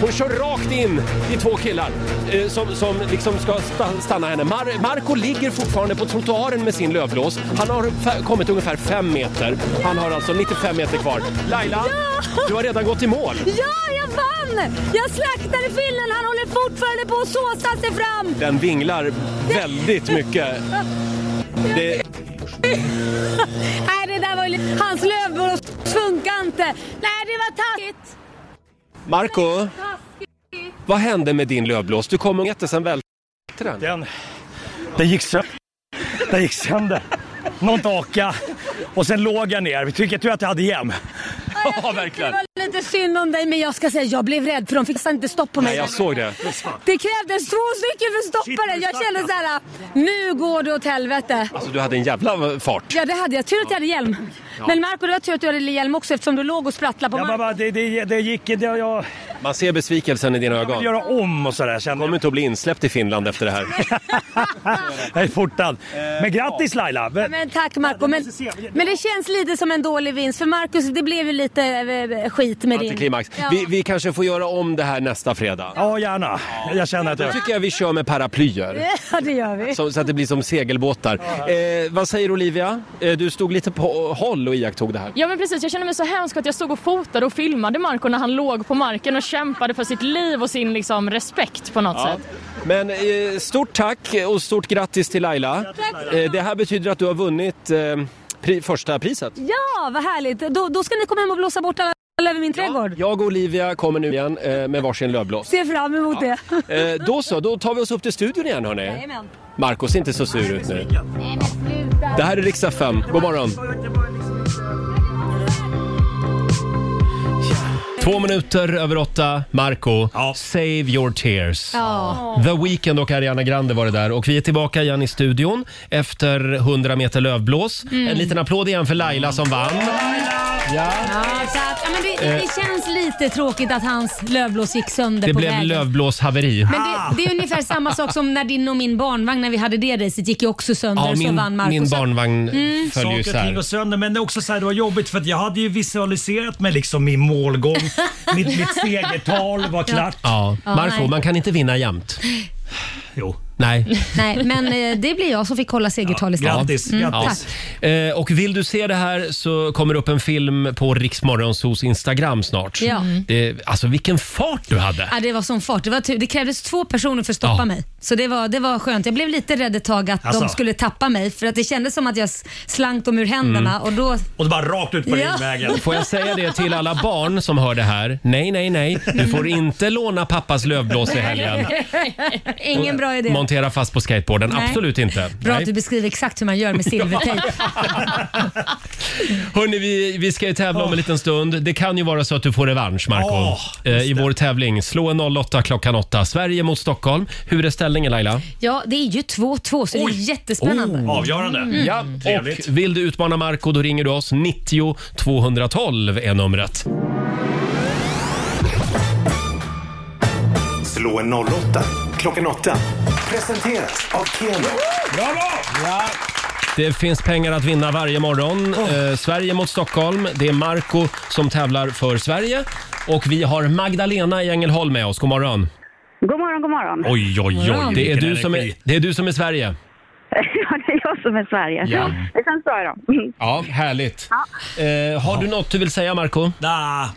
S1: Hon kör rakt in i två killar eh, som, som liksom ska sta- stanna henne. Mar- Marco ligger fortfarande på trottoaren med sin lövblås. Han har fa- kommit ungefär fem meter. Han har alltså 95 meter kvar. Laila, du har redan gått i mål.
S3: Ja, jag vann! Jag slaktade finnen, han håller fortfarande på att såsa sig fram!
S1: Den vinglar väldigt mycket. Det,
S3: Nej, det där var ju lite... Hans lövblås funkar inte. Nej, det var taskigt.
S1: Marco, vad hände med din lövblås? Du kom och jätte sen väl...
S8: Den, den gick sönder. Den gick sönder. Någon taka. Och sen låg jag ner. Vi tycker tur att jag hade hjälm. Ja, verkligen.
S3: Det var lite synd om dig, men jag ska säga jag blev rädd för de fick nästan inte stopp på mig.
S1: Nej, jag såg det.
S3: Det krävdes två stycken för att stoppa det. Jag kände så här, nu går det åt helvete.
S1: Alltså, du hade en jävla fart.
S3: Ja, det hade jag. Tur att jag hade hjälm.
S1: Ja.
S3: Men Marco, det var tur att du hade hjälm också eftersom du låg och sprattlade på
S8: Jag bara,
S3: marken.
S8: bara, det, det, det gick inte. Jag, jag,
S1: Man ser besvikelsen i dina ögon. Jag vill
S8: göra om och sådär. Du
S1: kommer inte att bli insläppt i Finland efter det här.
S8: jag är fortad. Men grattis Laila!
S3: Ja, Men tack Marco, men, men det känns lite som en dålig vinst för Marcus, det blev ju lite eh, skit med din...
S1: Antiklimax.
S3: Ja.
S1: Vi, vi kanske får göra om det här nästa fredag.
S8: Ja, gärna. Jag känner att
S1: jag... Då tycker jag vi kör med paraplyer.
S3: Ja, det gör vi.
S1: Så, så att det blir som segelbåtar. Eh, vad säger Olivia? Eh, du stod lite på håll och iakttog det här.
S2: Ja men precis, jag kände mig så hemsk att jag stod och fotade och filmade Marco när han låg på marken och kämpade för sitt liv och sin liksom, respekt på något
S1: Ja.
S2: sätt.
S1: Men eh, stort tack och stort grattis till Laila. Eh, det här betyder att du har vunnit eh, pri- första priset.
S3: Ja, vad härligt. Då, då ska ni komma hem och blåsa bort alla löv i min trädgård.
S1: Jag och Olivia kommer nu igen eh, med varsin lövblås.
S3: Ser fram emot
S1: Ja.
S3: det.
S1: Eh, då så, då tar vi oss upp till studion igen hörni.
S3: Jajamän.
S1: Marcos är inte så sur ut nu. Det här är riksdag 5. God morgon. Två minuter över åtta. Marco, save your tears.
S2: Ja.
S1: The Weeknd och Ariana Grande var det där och vi är tillbaka igen i studion efter 100 meter lövblås.
S3: Mm.
S1: En liten applåd igen för Laila som vann. Ja.
S3: tack. Ja, men det, det
S1: Eh.
S3: känns lite tråkigt att hans lövblås gick sönder
S1: Det
S3: på
S1: blev
S3: vägen.
S1: lövblåshaveri.
S3: Men det, det är ungefär samma sak som när din och min barnvagn, när vi hade det racet, gick ju också sönder
S1: Ja,
S3: och så
S1: min,
S3: vann Marcus.
S1: min barnvagn
S3: Mm.
S1: föll ju
S8: Saker och ting
S1: isär.
S8: går sönder. Men det är också så här, det var jobbigt för att jag hade ju visualiserat mig liksom min målgång. mitt, mitt segertal var klart.
S1: Ja.
S3: Ja,
S1: Marco,
S3: nej.
S1: man kan inte vinna jämt.
S8: Jo.
S1: Nej.
S3: Nej, men eh, det blir jag som fick hålla segertal istället. Mm, tack.
S1: Eh, och vill du se det här så kommer det upp en film på Riksmorgonsos Instagram snart.
S3: Ja. Mm.
S1: Det, alltså vilken fart du hade!
S3: Ja, det var sån fart. Det, var tur. det krävdes två personer för att stoppa
S1: Ja.
S3: mig. Så det var, det var skönt. Jag blev lite rädd ett tag att
S8: Alltså.
S3: de skulle tappa mig för att det kändes som att jag s- slank dem ur händerna
S1: Mm.
S3: och då...
S8: Och det bara rakt ut på
S3: Ja.
S8: ringvägen.
S1: Får jag säga det till alla barn som hör det här? Nej, nej, nej. Du får inte låna pappas lövblås i helgen.
S3: Ingen bra idé.
S1: Montera fast på skateboarden.
S3: Nej.
S1: Absolut inte.
S3: Bra
S1: eh, Nej.
S3: att du beskriver exakt hur man gör med silvertejp.
S1: Hörni, vi, vi ska ju tävla om en liten stund. Det kan ju vara så att du får revansch, Marco.
S8: Åh,
S1: eh, I vår tävling. Slå en 08 klockan 8. Sverige mot Stockholm. Hur är ställningen Laila?
S3: Ja, det är ju 2-2 så det är jättespännande. Mm.
S1: Ja, och vill du utmana Marco då ringer du oss. 90 212 är numret.
S12: Slå en 08 klockan 8. Presenteras av Keno. Bravo! Ja.
S1: Det finns pengar att vinna varje morgon. Eh, Sverige mot Stockholm. Det är Marco som tävlar för Sverige. Och vi har Magdalena i Ängelholm med oss. God morgon.
S5: God morgon, god morgon.
S1: Oj, oj, oj. Det är,
S5: Vilken
S1: du som är,
S5: energi.
S1: det är du som är Sverige.
S5: Ja, det är jag som är Sverige.
S1: Ja.
S5: Det känns bra idag. Mm.
S1: Ja, härligt. Eh, har du något du vill säga Marco?
S8: Nah,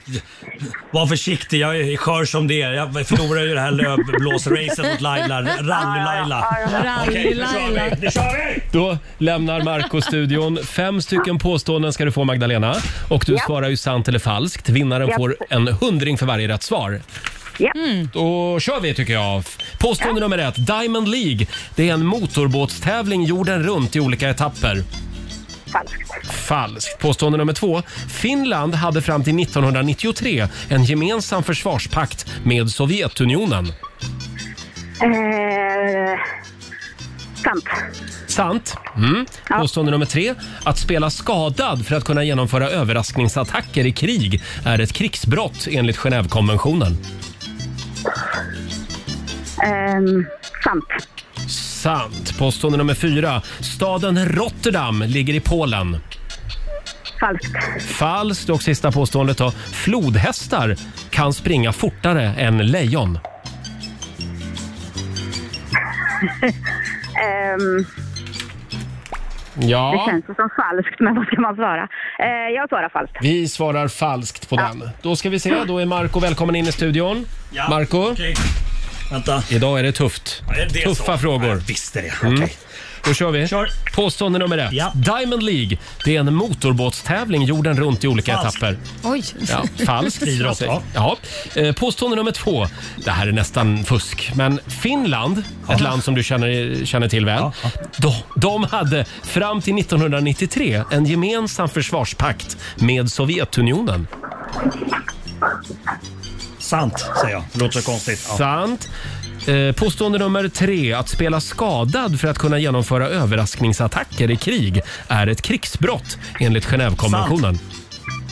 S8: var försiktig, jag är skör som det är. Jag förlorar ju det här lövblåsracet mot Laila. Rally-Laila. Okej, nu kör vi! Nu kör vi!
S1: Då lämnar Marco studion. Fem stycken påståenden ska du få Magdalena. Och du
S5: Ja.
S1: svarar ju sant eller falskt. Vinnaren
S5: Ja.
S1: får en hundring för varje rätt svar.
S5: Ja.
S1: Då kör vi tycker jag. Påstående nummer ett. Diamond League. Det är en motorbåtstävling jorden runt i olika etapper. Falskt. Falskt. Påstående nummer två. Finland hade fram till 1993 en gemensam försvarspakt med Sovjetunionen.
S5: Eh, sant.
S1: Sant. Mm. Påstående nummer tre. Att spela skadad för att kunna genomföra överraskningsattacker i krig är ett krigsbrott enligt Genèvekonventionen.
S5: Ehm, sant.
S1: Sant. Påstående nummer fyra. Staden Rotterdam ligger i Polen.
S5: Falskt.
S1: Falskt. Och sista påståendet då. Flodhästar kan springa fortare än lejon.
S5: Ehm,
S1: Ja.
S5: Det känns ju som falskt, men vad ska man svara? Eh, jag svarar falskt.
S1: Vi svarar falskt på den. Då ska vi se. Då är Marco välkommen in i studion. Marco.
S8: Vänta.
S1: Idag är det tufft.
S8: Ja, är det
S1: Tuffa
S8: så?
S1: frågor.
S8: Jag visste det.
S1: Mm.
S8: Okej.
S1: Då kör vi. Påstående nummer ett. Diamond League. Det är en motorbåtstävling jorden runt i olika
S3: Falskt.
S1: etapper.
S3: Oj.
S1: Ja, falskt.
S3: Idrott,
S1: ja. Eh, Påstående nummer två. Det här är nästan fusk, men Finland, ett land som du känner, känner till väl. De, de hade fram till 1993 en gemensam försvarspakt med Sovjetunionen.
S8: Sant, säger jag. Det låter så konstigt. Ja.
S1: Sant. Eh, Påstående nummer tre. Att spela skadad för att kunna genomföra överraskningsattacker i krig är ett krigsbrott enligt Genèvekonventionen.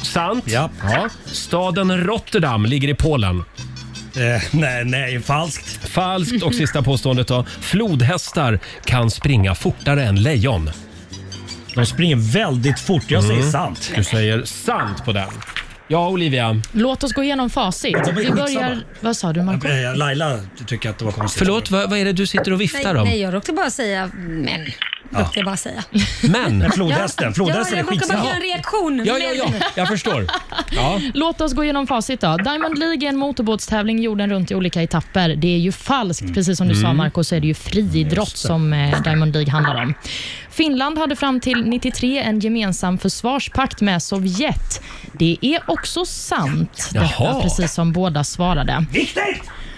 S1: Sant. Ja. Staden Rotterdam ligger i Polen.
S8: Eh, nej, nej, falskt.
S1: Falskt. Och sista påståendet då. Flodhästar kan springa fortare än lejon.
S8: De springer väldigt fort. Jag säger
S1: Mm.
S8: sant.
S1: Du säger sant på den. Ja, Olivia.
S2: Låt oss gå igenom facit.
S8: Ja, men
S2: Vi
S8: skitsamma.
S2: börjar... Vad sa du Marco?
S8: Eh, Laila du tycker att det var konstigt.
S1: Mm. Förlåt, vad, vad är det du sitter och viftar
S3: nej,
S1: om?
S3: nej, jag råkade bara säga men.
S1: Ja.
S3: Råkade jag bara säga.
S8: Oh,
S1: Men?
S8: Men flodhästen,
S3: ja, jag råkade bara göra en reaktion.
S1: Ja, ja, ja. Jag förstår. Ja.
S2: Låt oss gå igenom facit då. Diamond League är en motorbåtstävling jorden runt i olika etapper. Det är ju falskt. Precis som du sa
S13: Mm.
S2: Marco så är det ju friidrott
S13: Just det.
S2: som eh, Diamond League handlar om. Finland hade fram till 93 en gemensam försvarspakt med Sovjet. Det är också sant.
S1: Jaha.
S2: Detta, precis som båda svarade.
S8: Viktigt!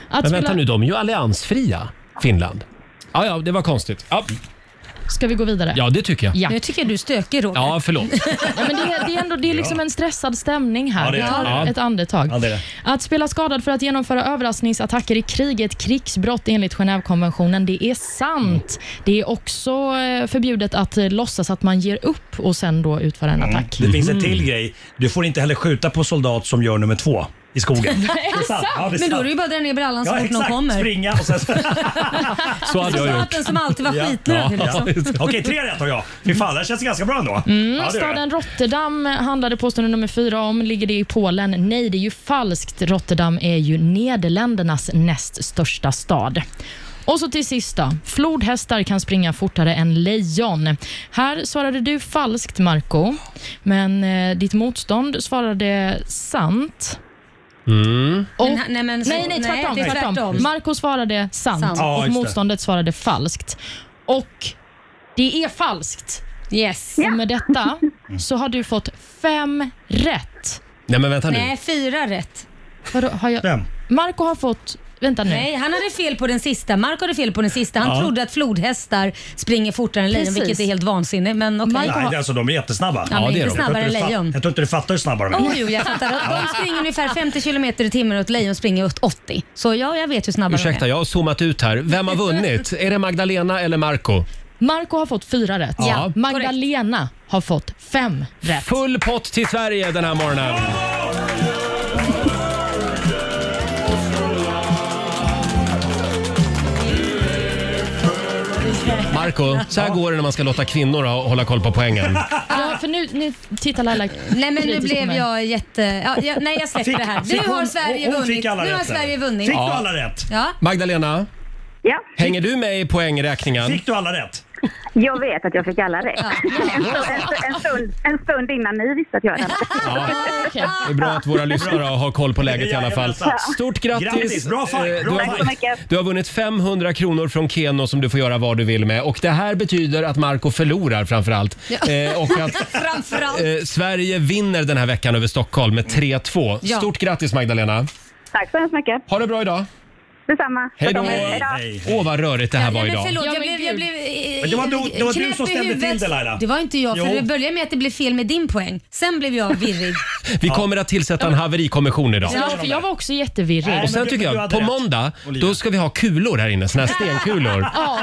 S2: Att
S1: Men vänta
S2: spela-
S1: nu, de är ju alliansfria, Finland. Ja, ja, det var konstigt. Ja,
S2: Ska vi gå vidare?
S1: ja det tycker jag.
S2: Ja.
S3: Jag tycker du är stökig Roger.
S1: Ja, förlåt.
S2: Ja, men det, är, det är ändå det är liksom en stressad stämning här.
S1: Ja, det
S2: Vi
S1: är
S2: tar
S1: det. Ja.
S2: ett andetag.
S1: Ja, det är det.
S2: Att spela skadad för att genomföra överraskningsattacker i krig är ett krigsbrott enligt Genèvekonventionen. Det är sant.
S1: Mm.
S2: Det är också eh, förbjudet att eh, låtsas att man ger upp och sen då utföra
S1: Mm.
S2: en attack.
S8: Det finns en till grej. Du får inte heller skjuta på soldat som gör nummer två i skogen.
S3: är sant.
S8: Ja, det
S3: Men
S8: är
S3: då är
S8: sant.
S3: det ju bara att dra ner brallan så
S8: Ja,
S3: fort någon
S8: exakt.
S3: kommer.
S8: Springa och sen...
S1: Så hade jag gjort.
S3: Soldaten som alltid var
S8: Ja.
S3: skitnödig.
S8: Ja.
S3: Liksom.
S8: Okej, tre rätt har jag. Fy fan, det här känns ganska bra ändå.
S2: Mm,
S8: Ja, det gör det.
S2: staden Rotterdam handlade påstående nummer fyra om. Ligger det i Polen? Nej, det är ju falskt. Rotterdam är ju Nederländernas näst största stad. Och så till sist då. Flodhästar kan springa fortare än lejon. Här svarade du falskt, Marco. Men eh, ditt motstånd svarade sant.
S1: Mm.
S2: Och,
S3: Men, nej, men så-
S2: nej, nej,
S3: nej,
S2: tvärtom.
S3: det är
S2: tvärtom.
S3: tvärtom.
S2: Marco svarade sant,
S3: Sant. Ja,
S2: och
S3: just det.
S2: motståndet svarade falskt. Och det är falskt.
S3: Yes.
S2: Och med detta så har du fått fem rätt.
S1: Nej, men vänta nu.
S3: Nej, fyra rätt.
S2: Vadå, har jag... Marco har fått... Vänta nu.
S3: Nej, han hade fel på den sista. Mark hade fel på den sista. Han
S8: Ja.
S3: trodde att flodhästar springer fortare än lejon,
S2: Precis.
S3: vilket är helt vansinnigt. Men okej.
S8: Nej, det är alltså, de är jättesnabba.
S3: Ja, men inte
S8: Jag tror
S3: snabbare
S8: inte
S3: än
S8: du fa-
S3: lejon.
S8: Jag tror inte du fattar hur snabba de är.
S3: Jo, jo, jag fattar. De springer ungefär 50 kilometer i timmen och ett lejon springer åt 80. Så ja, jag vet hur snabba
S1: Ursäkta,
S3: de är.
S1: jag har zoomat ut här. Vem har vunnit? Är det Magdalena eller Marco?
S2: Marco har fått fyra rätt.
S1: Ja,
S2: Magdalena har fått fem rätt.
S1: Full pott till Sverige den här morgonen. Marco, så här går det när man ska låta kvinnor ha- hålla koll på poängen.
S2: Ja, för nu, nu tittar Laila
S3: Nej men nu
S2: kritiskt på
S3: blev
S2: mig.
S3: jag jätte... Ja, jag, nej jag släpper det här.
S2: Fick
S3: Nu har
S2: hon-
S3: Sverige
S2: hon- hon fick
S3: vunnit.
S1: alla
S3: Nu har
S1: rätt där.
S3: Sverige vunnit.
S1: Fick du alla
S8: rätt?
S3: Ja.
S1: Magdalena,
S5: Ja.
S1: hänger du med i poängräkningen?
S8: Fick du alla rätt?
S5: Jag vet att jag fick alla rätt. En, stund, en, stund, en, stund, en stund innan ni visste att jag hade rätt.
S1: Ja. Det är bra att våra lyssnare har koll på läget i alla fall.
S5: Jajamensan.
S1: Stort grattis!
S5: Grattis, bra fight,
S1: Eh,
S5: bra
S1: du,
S5: fight. Tack så mycket.
S1: har, du har vunnit 500 kronor från Keno som du får göra vad du vill med. Och det här betyder att Marco förlorar framförallt. Eh, och att
S3: Framförallt.
S1: eh, Sverige vinner den här veckan över Stockholm med 3-2.
S5: Ja.
S1: Stort grattis Magdalena!
S5: Tack så hemskt mycket.
S1: Ha det bra idag.
S5: Detsamma.
S1: Hej då!
S5: Hej då.
S1: Åh vad rörigt det här var
S3: men
S1: idag.
S3: förlåt, jag blev... Jag blev eh,
S1: Men det var du- det var du som ställde till det, Laila.
S3: Det var inte jag, för
S1: Jo.
S3: det började med att det blev fel med din poäng. Sen blev jag virrig.
S1: Vi kommer att tillsätta en haverikommission idag.
S2: Ja, för jag var också jättevirrig.
S1: och sen tycker jag, på måndag, då ska vi ha kulor här inne. Såna här stenkulor.
S2: Ja.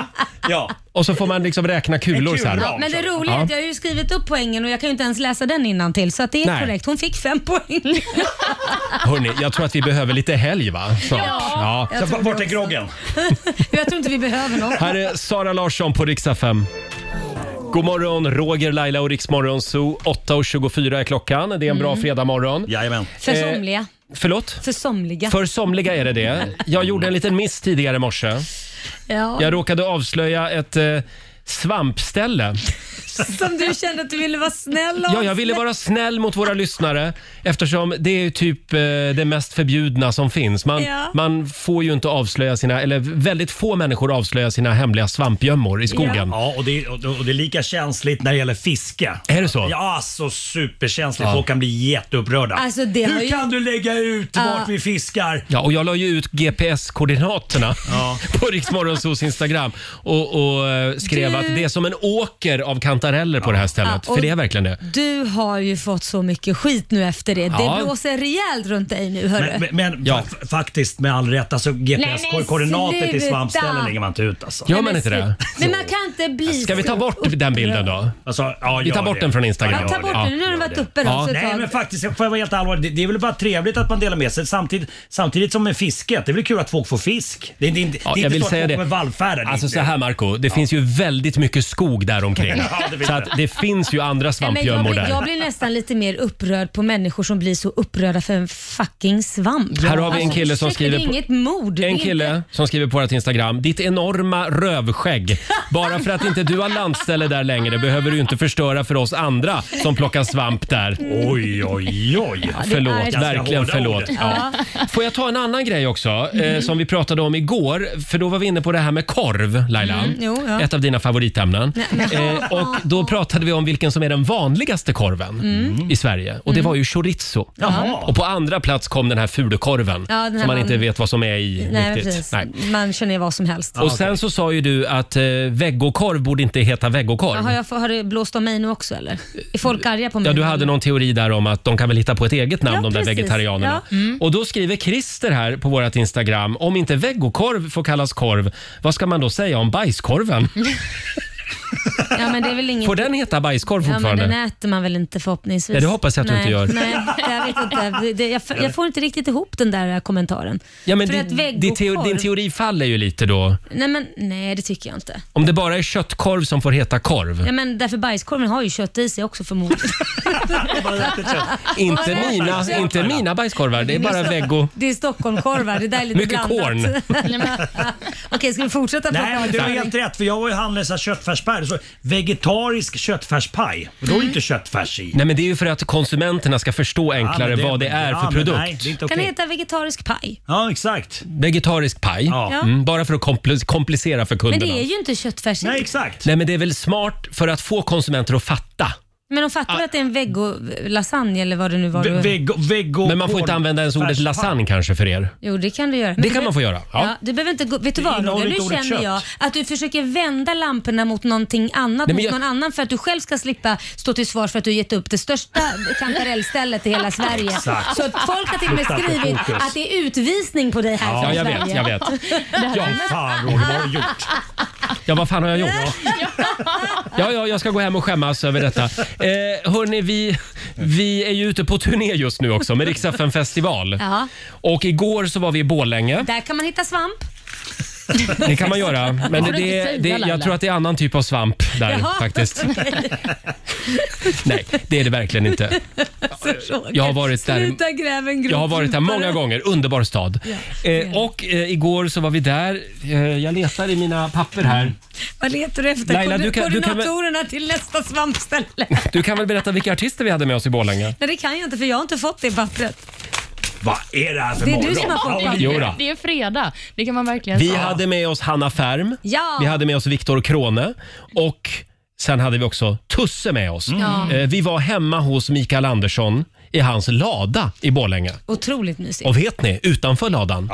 S1: ja. Och så får man liksom räkna kulor så här.
S3: Ja, men det roliga är att jag har ju skrivit upp poängen och jag kan ju inte ens läsa den innan till så att det är
S1: Nej.
S3: korrekt. Hon fick fem poäng.
S1: Hörrni, jag tror att vi behöver lite helg va? Snart.
S3: Ja, jag Så tror vart
S1: är groggen?
S3: jag tror inte vi behöver någon.
S1: Här är Sara Larsson på riksdag 5. God morgon, Roger, Laila och Riksmorgon Zoo. 8.24 är klockan. Det är en bra
S3: Mm.
S1: fredagmorgon.
S8: Jajamän.
S3: För somliga.
S1: Förlåt?
S3: För somliga.
S1: För somliga är det det. Jag gjorde en liten miss tidigare i morse.
S3: Ja.
S1: Jag råkade avslöja ett eh, svampställe.
S3: Som du kände att du ville vara snäll om.
S1: Ja, jag ville vara snäll mot våra lyssnare eftersom det är ju typ eh, det mest förbjudna som finns. Man,
S3: Ja.
S1: man får ju inte avslöja sina, eller väldigt få människor avslöjar sina hemliga svampgömmor i skogen.
S8: Ja, och det, och, och det är lika känsligt när det gäller fiske.
S1: Är det så?
S8: Ja, så superkänsligt.
S1: Ja.
S8: Folk kan bli jätteupprörda.
S3: Alltså, det har
S8: Hur
S3: ju-
S8: kan du lägga ut
S3: Ja.
S8: vart vi fiskar?
S1: Ja, och jag la ju ut GPS-koordinaterna på Riksmorgonsos Instagram och, och eh, skrev
S3: Du-
S1: att det är som en åker av kantareller på det här stället.
S3: Ja, och-
S1: För det är verkligen det.
S3: Du har ju fått så mycket skit nu efter det.
S1: Ja.
S3: Det blåser rejält runt dig nu hörru.
S8: Men, men, men fa- faktiskt med all rätt, alltså GPS-koordinater till
S3: sluta.
S8: svampställen lägger man inte ut alltså.
S1: Gör man inte det?
S3: Men man kan inte bli
S1: Ska vi ta
S3: så
S1: bort den bilden då? vi tar
S8: Alltså, gör
S1: bort
S8: det.
S1: den från Instagram.
S3: Ja, ta bort den. Nu har den varit uppe då, så ett
S8: Nej
S3: tag.
S8: men faktiskt, får jag vara helt allvarlig. Det, det är väl bara trevligt att man delar med sig samtidigt, samtidigt som med fisket. Det är väl kul att folk får fisk? Det, är- det, är inte- det,
S1: Ja, jag
S8: är inte
S1: vill
S8: så att
S1: säga
S8: folk
S1: det.
S8: kommer vallfärda. Det är
S1: Alltså
S8: inte-
S1: så här Marco, det finns ju väldigt mycket skog där omkring.
S8: Ja, det finns
S1: så att
S8: det.
S1: det finns ju andra
S3: Nej, men jag,
S1: svampgömmor
S3: blir,
S1: där.
S3: jag blir nästan lite mer upprörd på människor som blir så upprörda för en fucking svamp.
S1: Här har vi en
S3: Alltså,
S1: kille som
S3: ursäkta,
S1: skriver
S3: Det är
S1: på-
S3: inget mord. Det är
S1: En
S3: inte-
S1: kille som skriver på vårt Instagram. Ditt enorma rövskägg. Bara för att inte du har landställe där längre behöver du inte förstöra för oss andra som plockar svamp där.
S8: Oj, oj, oj.
S1: Förlåt,
S8: Ganska
S1: verkligen
S8: hårda
S1: förlåt.
S8: ord.
S1: Ja. Får jag ta en annan grej också eh,
S3: Mm-hmm.
S8: Mm.
S1: som vi pratade om igår? För då var vi inne på det här med korv, Laila.
S3: Mm, jo, ja.
S1: Ett av dina favoritämnen.
S3: Nej, men-
S1: Eh, och då pratade vi om vilken som är den vanligaste korven
S3: Mm.
S1: i Sverige. Och det var ju chorizo.
S3: Jaha.
S1: Och på andra plats kom den här fulukorven
S3: Ja, den här
S1: som man
S3: van-
S1: inte vet vad som är i
S3: Nej, men
S1: riktigt.
S3: precis. Man känner vad som helst.
S1: Och sen så sa ju du att eh, veggokorv borde inte heta
S3: Ja, har,
S1: veggokorv.
S3: jag, har det blåst om mig nu också eller? Är folk arga på mig?
S1: Ja, du hade någon teori där om att de kan väl hitta på ett eget namn,
S3: Ja,
S1: de där
S3: precis.
S1: vegetarianerna.
S3: Ja. Mm.
S1: Och då skriver Christer här på vårt Instagram, om inte veggokorv får kallas korv, vad ska man då säga om bajskorven?
S3: Ja, men det är väl inget...
S1: Får den heta bajskorv
S3: Ja, men
S1: fortfarande?
S3: den äter man väl inte förhoppningsvis.
S1: Ja, det hoppas jag att du
S3: nej,
S1: inte gör.
S3: Nej, jag vet inte. Det, det, jag, f- jag får inte riktigt ihop den där eh, kommentaren.
S1: Ja, men
S3: För att
S1: din, din, teo,
S3: veggokorv-
S1: din teori faller ju lite då.
S3: Nej, men, nej, det tycker jag inte.
S1: Om det bara är köttkorv som får heta korv.
S3: Ja, men därför bajskorven har ju kött i sig också förmodligen.
S1: Inte,
S3: Bara
S1: mina,
S3: kött.
S1: inte mina bajskorvar, det är bara veggo.
S3: Det är Stockholmkorvar, det där är lite
S1: Mycket
S3: blandat.
S1: korn.
S3: Nej, men- Okej, ska vi fortsätta prata
S8: Nej, men du har helt rätt. För jag var ju och handlade så här köttfärspaj. Så vegetarisk köttfärspaj. Och då är ju inte köttfärs i.
S1: Nej men det är ju för att konsumenterna ska förstå enklare
S8: men det-
S1: vad det är
S8: ja,
S1: för
S8: men
S1: produkt.
S8: nej, det är inte
S3: Kan det heta vegetarisk paj?
S8: Ja, exakt.
S1: Vegetarisk paj.
S3: Ja.
S1: Mm, bara för att kompl- komplicera för
S3: Men
S1: kunderna.
S3: det är ju inte köttfärs i.
S1: Nej men det är väl smart för att få konsumenter att fatta.
S3: Men de fattar väl att det är en veggo-lasagne eller vad det nu var
S1: Ah. Ve-
S3: du...
S1: men man får inte använda ens ordet
S8: färspaj.
S1: lasagne kanske för er.
S3: Jo, det kan du göra. Men
S1: Det
S3: du
S1: kan man
S3: behöver-
S1: få göra.
S3: Ja.
S1: Ja.
S3: du behöver inte gå, vet du vad
S8: innehåller
S3: Roger? Nu
S8: inte ordet
S3: känner jag
S8: kött.
S3: att du försöker vända lamporna mot någonting annat,
S1: Nej, men
S3: mot
S1: jag-
S3: någon annan för att du själv ska slippa stå till svars för att du gett upp det största kantarellstället i hela Sverige.
S1: Exakt.
S3: Så att folk har till och med
S1: Flytta på
S3: skrivit
S1: fokus.
S3: att det är utvisning på dig här
S1: Ja,
S3: från
S1: jag
S3: Sverige.
S1: vet, jag vet.
S3: Det här
S1: Ja,
S3: är mest-
S1: fan, Roger, vad har du gjort? Ja vad fan har jag gjort? Ja, ja, jag ska gå hem och skämmas över detta. Eh, hörni, vi, vi är ju ute på turné just nu också med Riksaffen festival.
S3: Ja.
S1: Och igår så var vi i Borlänge.
S3: Där kan man hitta svamp.
S1: Det kan man göra. Men det,
S2: Får du inte
S1: det,
S2: säga,
S1: det,
S2: Laila?
S1: jag tror att det är annan typ av svamp där
S2: Jaha.
S1: faktiskt. Nej, det är det verkligen inte. Jag har varit där.
S3: Sluta gräva en grop
S1: Jag har varit där många gånger. Underbar stad. Eh, och eh, igår så var vi där. Eh, jag letar i mina papper här.
S3: Vad letar du efter?
S1: Laila,
S3: Koordin-
S1: du kan- du kan väl-
S3: Koordinatorerna till nästa svampställe?
S1: Du kan väl berätta vilka artister vi hade med oss i Borlänge?
S3: Nej, det kan jag inte för jag har inte fått det pappret.
S1: Vad är det här
S3: för Det är du morgon? som har fått allt.
S1: Jodå.
S2: Det är fredag. Det kan man verkligen
S1: Vi
S2: säga.
S1: hade med oss Hanna Färm.
S2: Ja.
S1: Vi hade med oss Viktor Krone. Och sen hade vi också Tusse med oss.
S4: Mm.
S3: Ja.
S1: Eh, Vi var hemma hos Mikael Andersson i hans lada i Borlänge.
S3: Otroligt mysigt.
S1: Och vet ni, utanför ladan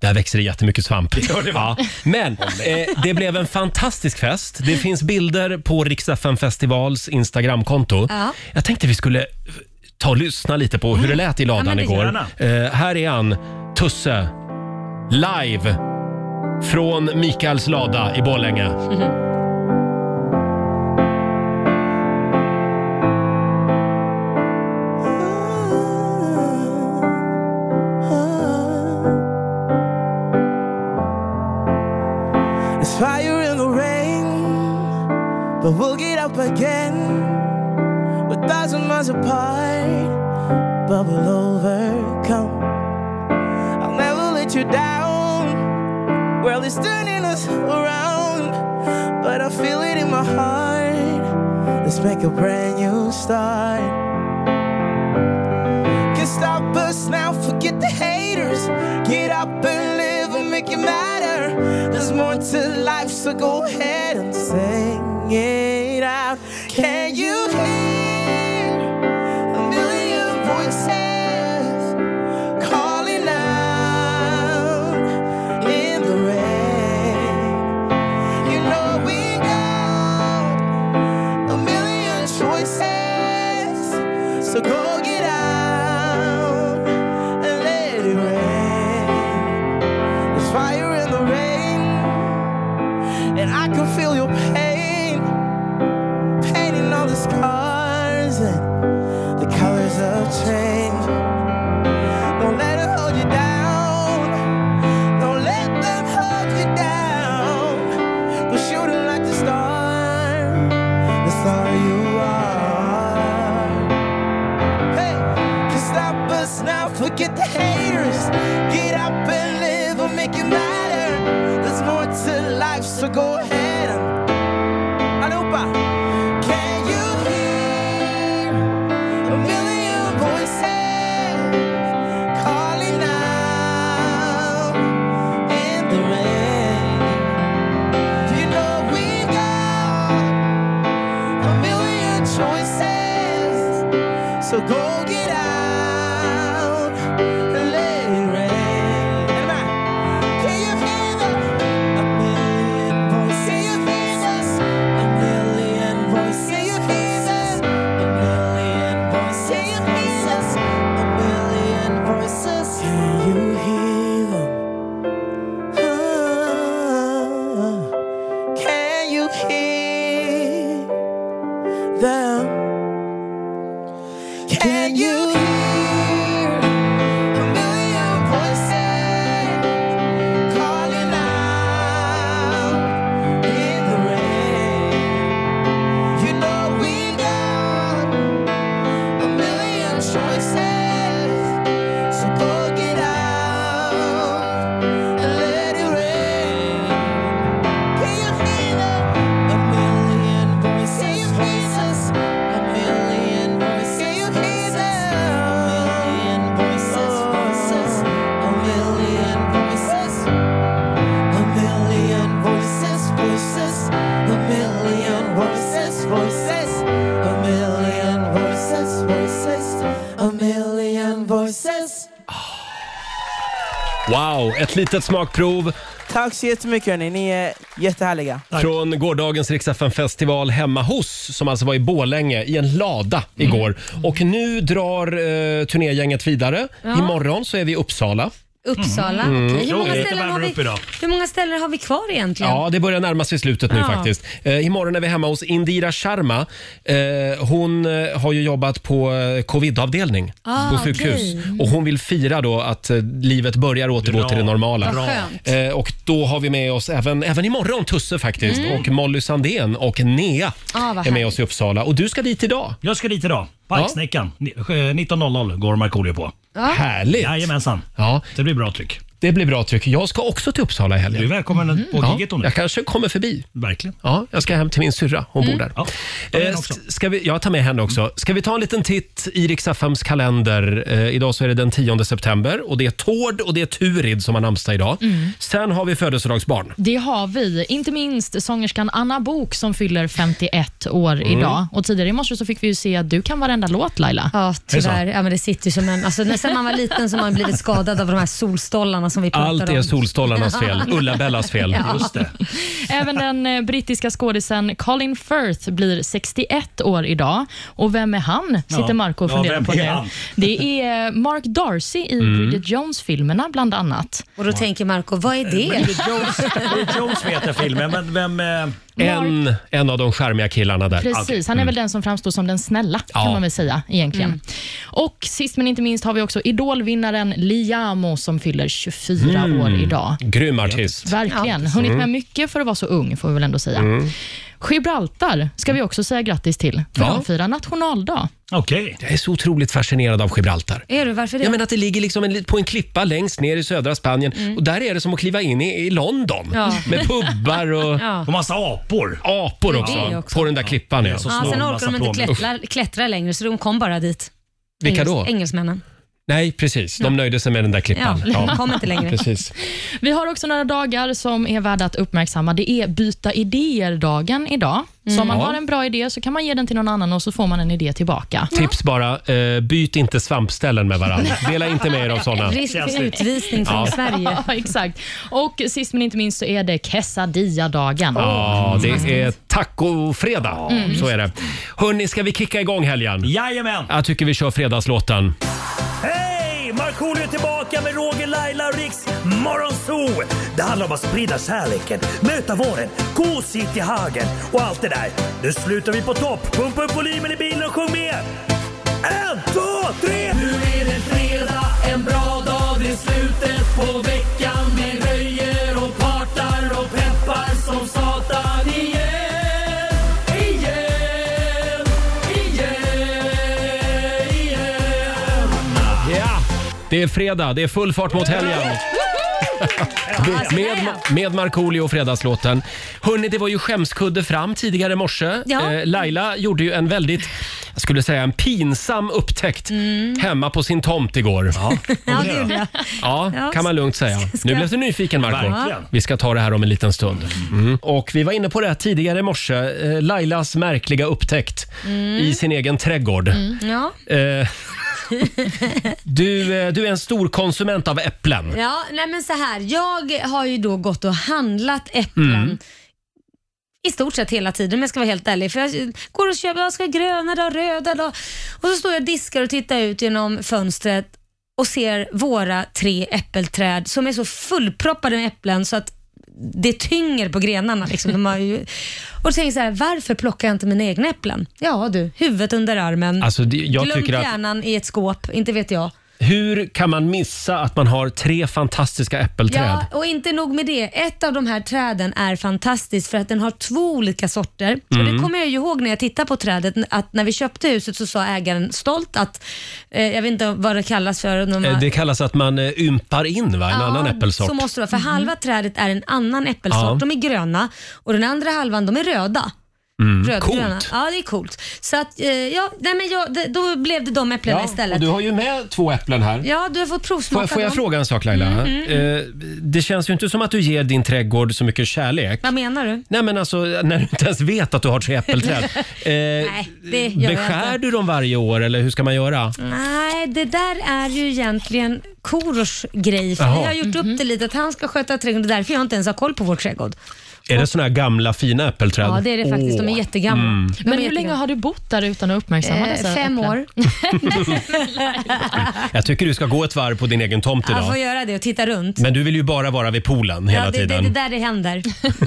S1: Där växer det jättemycket svamp. Ja. Men eh, det blev en fantastisk fest. Det finns bilder på Riksdagen Festivals Instagramkonto.
S4: Ja.
S1: Jag tänkte vi skulle ta och lyssna lite på hur det lät i
S4: Ja,
S1: ladan
S4: men det
S1: igår. Eh, här är han, Tusse, live från Mikaels lada i Borlänge.
S7: There's fire in the rain, but we'll get up again. We're thousand miles apart, but we'll overcome. I'll never let you down. World is turning us around, but I feel it in my heart. Let's make a brand new start can stop us now. Forget the haters. Get up and live and make it matter. There's more to life, so go ahead and sing it out. Can you hear a million voices calling out in the rain? You know we got a million choices. So go get out and let it rain. There's fire in the rain, and I can feel your pain. Painting all the scars and the colors of change. Don't let it hold you down. Don't let them hold you down. We're shooting like the star, the star you are. Hey, can stop us now, forget the haters. Get up and live and make it matter. There's more to life, so go ahead and. Alupa, can you hear a million voices calling out in the rain? You know we've got a million choices. So go get out and let it rain. Am I? Can you feel the a million voices? Can you feel us? A million voices. Can you feel us? A million voices. Can you feel us? A million voices. Can you hear them? Ah, Can you hear them? Can you hear a million voices calling out in the rain? You know we got a million choices, so go get out and let it rain. Can you hear a million voices? A million voices, voices, a million voices, a million voices, voices, a million voices, voices, a million voices, voices, a million voices.
S1: Wow, ett litet smakprov
S7: Tack så jättemycket hörni, ni är jättehärliga.
S1: Från gårdagens riksdagen festival hemma hos, som alltså var i Borlänge, i en lada igår. Och nu drar eh, turnégänget vidare.
S3: Ja.
S1: Imorgon så är vi i Uppsala.
S3: Uppsala.
S1: Mm.
S3: Okej. Hur,
S1: Jo,
S3: många
S1: lite
S3: ställen har
S1: varmare
S3: vi,
S1: upp idag.
S3: hur många ställen har vi kvar egentligen?
S1: Ja, det börjar närma sig slutet nu
S3: Ja.
S1: faktiskt. Eh, imorgon är vi hemma hos Indira Sharma. Eh, hon eh, har ju jobbat på eh, covid-avdelning
S13: Ah,
S1: på sjukhus.
S13: okej.
S1: Och hon vill fira då att eh, livet börjar återgå
S13: Bra.
S1: till det normala.
S13: Vad skönt.
S1: Eh, och då har vi med oss även, även imorgon Tusse faktiskt
S13: Mm.
S1: och Molly Sandén och Nea
S13: Ah, vad
S1: är med
S13: härligt.
S1: oss i Uppsala. Och du ska dit idag.
S13: Jag ska dit idag.
S1: Parksnäckan.
S8: eh,
S1: 19.00 går Markoolio på.
S13: Ja.
S1: Härligt!
S13: Jajamensan.
S1: Ja.
S13: Det blir bra tryck.
S1: Det blir bra tryck. Jag ska också till Uppsala i helgen.
S13: Du är välkommen på
S1: Mm-hmm. Ja,
S13: gigget om du
S1: Jag kanske kommer förbi.
S13: Verkligen.
S1: Ja, jag ska hem till min syrra. Hon
S13: Mm.
S1: bor där.
S13: Ja,
S1: Ja, eh, s- ska vi, jag tar med henne också. Ska vi ta en liten titt i Riks-FMs kalender? Eh, idag så är det den 10 september och det är Tord och det är Turid som har namnsdag idag.
S2: Mm.
S1: Sen har vi födelsedagsbarn.
S2: Det har vi. Inte minst sångerskan Anna Bok som fyller 51 år
S1: Mm.
S2: idag. Och Tidigare i morse så fick vi ju se att du kan varenda låt, Laila.
S3: Ja, Tyvärr, ja, men det sitter ju som en... Alltså, när sen man var liten så har man blivit skadad av de här solstollarna som vi pratar om.
S1: Allt är solstollarnas fel. Ulla-Bellas fel.
S2: Ja. Just
S1: det.
S2: Även den eh, brittiska skådisen Colin Firth blir 61 år idag. Och vem är han?
S1: Ja.
S2: Sitter Marco och
S1: Ja,
S2: funderar
S1: vem
S2: på
S1: är
S2: det.
S1: han?
S2: Det är eh, Mark Darcy i
S1: Mm.
S2: Bridget Jones-filmerna bland annat.
S3: Och då tänker Marco, vad är
S2: det?
S13: Bridget Jones, Bridget Jones heter filmen, men vem... eh,
S1: En, en av de charmiga killarna där.
S2: Precis, han är väl den som framstår som den snälla
S1: Mm. Ja.
S2: kan man väl säga egentligen.
S1: Mm.
S2: Och sist men inte minst har vi också idolvinnaren Liamo som fyller 24
S1: Mm.
S2: år idag.
S1: Grym artist.
S2: Verkligen, hunnit med mycket för att vara så ung får vi väl ändå säga.
S1: Mm.
S2: Gibraltar ska vi också säga grattis till, för
S1: Ja.
S2: de firar nationaldag.
S1: Okej. Jag är så otroligt fascinerad av Gibraltar.
S3: Är du? Varför det?
S1: Ja, men att det ligger liksom en, på en klippa längst ner i södra Spanien och där är det som att kliva in i, i London
S3: Ja.
S1: med pubbar och...
S3: Ja.
S1: Och massa apor. Apor
S3: Det är
S1: också,
S3: det också.
S1: på den där klippan. Ja.
S3: ja, sen orkar de inte klättra, klättra längre så de kom bara dit.
S1: Vilka då?
S3: Engels- Engelsmännen.
S1: Nej, precis. De nöjde sig med den där klippan.
S2: Ja, de kom inte längre.
S1: Precis.
S2: Vi har också några dagar som är värda att uppmärksamma. Det är byta idéer-dagen idag. Så om man
S1: Ja.
S2: har en bra idé så kan man ge den till någon annan och så får man en idé tillbaka.
S1: Tips bara, eh, byt inte svampställen med varandra. Dela inte med er av såna.
S2: Risk för Känsligt.
S3: Utvisning från
S1: Ja.
S3: Sverige.
S2: Ja, exakt. Och sist men inte minst så är det quesadilla-dagen.
S1: Ja, det är tacofredag.
S2: Mm.
S1: Så är det. Hörni, ska vi kicka igång helgen?
S13: Jajamän!
S1: Jag tycker vi kör fredagslåten.
S8: Hej! Markoolio är tillbaka med Roger, Laila och Riks Morgonzoo! Det handlar om att sprida kärleken, möta våren, gosigt i hagen och allt det där. Nu slutar vi på topp! Pumpa upp volymen i bilen och sjung med! En, två, tre! Nu är det fredag, en bra dag, det är slutet på veckan. Vi röjer och partar och peppar som satan igen, igen, igen, igen.
S1: Ja! Det är fredag, det är full fart mot helgen. Med, med Markoolio och Fredagslåten. Hörni, det var ju skämskudde fram tidigare i morse.
S13: Ja.
S1: Eh, Laila gjorde ju en väldigt, jag skulle säga en pinsam upptäckt
S3: Mm.
S1: hemma på sin tomt igår. Ja,
S3: Ja, det gjorde jag. Ja,
S1: kan man lugnt säga. Nu blev du nyfiken Marco.
S3: Verkligen.
S1: Vi ska ta det här om en liten stund. Mm. Och vi var inne på det här tidigare i morse. Eh, Lailas märkliga upptäckt
S3: Mm.
S1: i sin egen trädgård.
S3: Mm. Ja.
S1: Eh, du, eh, du är en stor konsument av äpplen.
S3: Ja, nej men så här. Jag har ju då gått och handlat äpplen
S1: Mm.
S3: i stort sett hela tiden om jag ska vara helt ärlig. För jag går och köper, jag ska ha gröna då, röda då. Och så står jag och diskar och tittar ut genom fönstret och ser våra tre äppelträd som är så fullproppade med äpplen så att det tynger på grenarna. Liksom. De har ju... Och då tänker jag så här, varför plockar jag inte mina egna äpplen? Ja du, huvudet under armen,
S1: Alltså, det- jag
S3: glömt
S1: tycker att-
S3: hjärnan i ett skåp, inte vet jag.
S1: Hur kan man missa att man har tre fantastiska äppelträd?
S3: Ja, och inte nog med det. Ett av de här träden är fantastiskt för att den har två olika sorter. Och
S14: Mm.
S3: det kommer jag ju ihåg när jag tittade på trädet, att när vi köpte huset så sa ägaren stolt att, eh, jag vet inte vad det kallas för. De
S1: Eh, Det kallas att man eh, ympar in va? en annan äppelsort. Mm.
S3: Så måste det vara, för halva trädet är en annan äppelsort.
S1: Ja.
S3: De är gröna och den andra halvan de är röda.
S1: Mm.
S3: Rödgröna.
S1: Coolt.
S3: Ja, det är coolt. Så att, eh, ja, nej men jag, det, då blev det de äpplena
S1: och
S3: istället.
S1: du har ju med två äpplen här.
S3: Ja, du har fått
S1: Får
S3: provsmaka
S1: jag, får jag
S3: dem.
S1: fråga en sak Laila?
S3: Mm, mm, mm.
S1: Eh, Det känns ju inte som att du ger din trädgård så mycket kärlek.
S3: Vad menar du?
S1: Nej men alltså när du inte ens vet att du har tre äppelträd. Eh,
S3: Nej, det gör jag
S1: Beskär
S3: inte. Mm.
S1: du dem varje år eller hur ska man göra?
S3: Nej, det där är ju egentligen Korosh grej. För
S1: Jaha.
S2: Mhm.
S3: vi har gjort upp det lite att han ska sköta trädgården. Det är därför jag inte ens har koll på vår trädgård.
S1: Är det såna här gamla fina äppelträd?
S3: Ja, det är det faktiskt. De är
S1: Åh.
S3: jättegamla.
S1: Mm.
S3: De är
S2: Men hur
S3: jättegamla.
S2: länge har du bott där utan att uppmärksamma
S3: Eh,
S2: dessa
S3: fem
S2: äpplen?
S3: år.
S1: Jag tycker du ska gå ett varv på din egen tomt
S3: Jag får
S1: idag.
S3: göra det och titta runt.
S1: Men du vill ju bara vara vid poolen hela
S3: ja, det, det,
S1: tiden.
S3: det där det händer.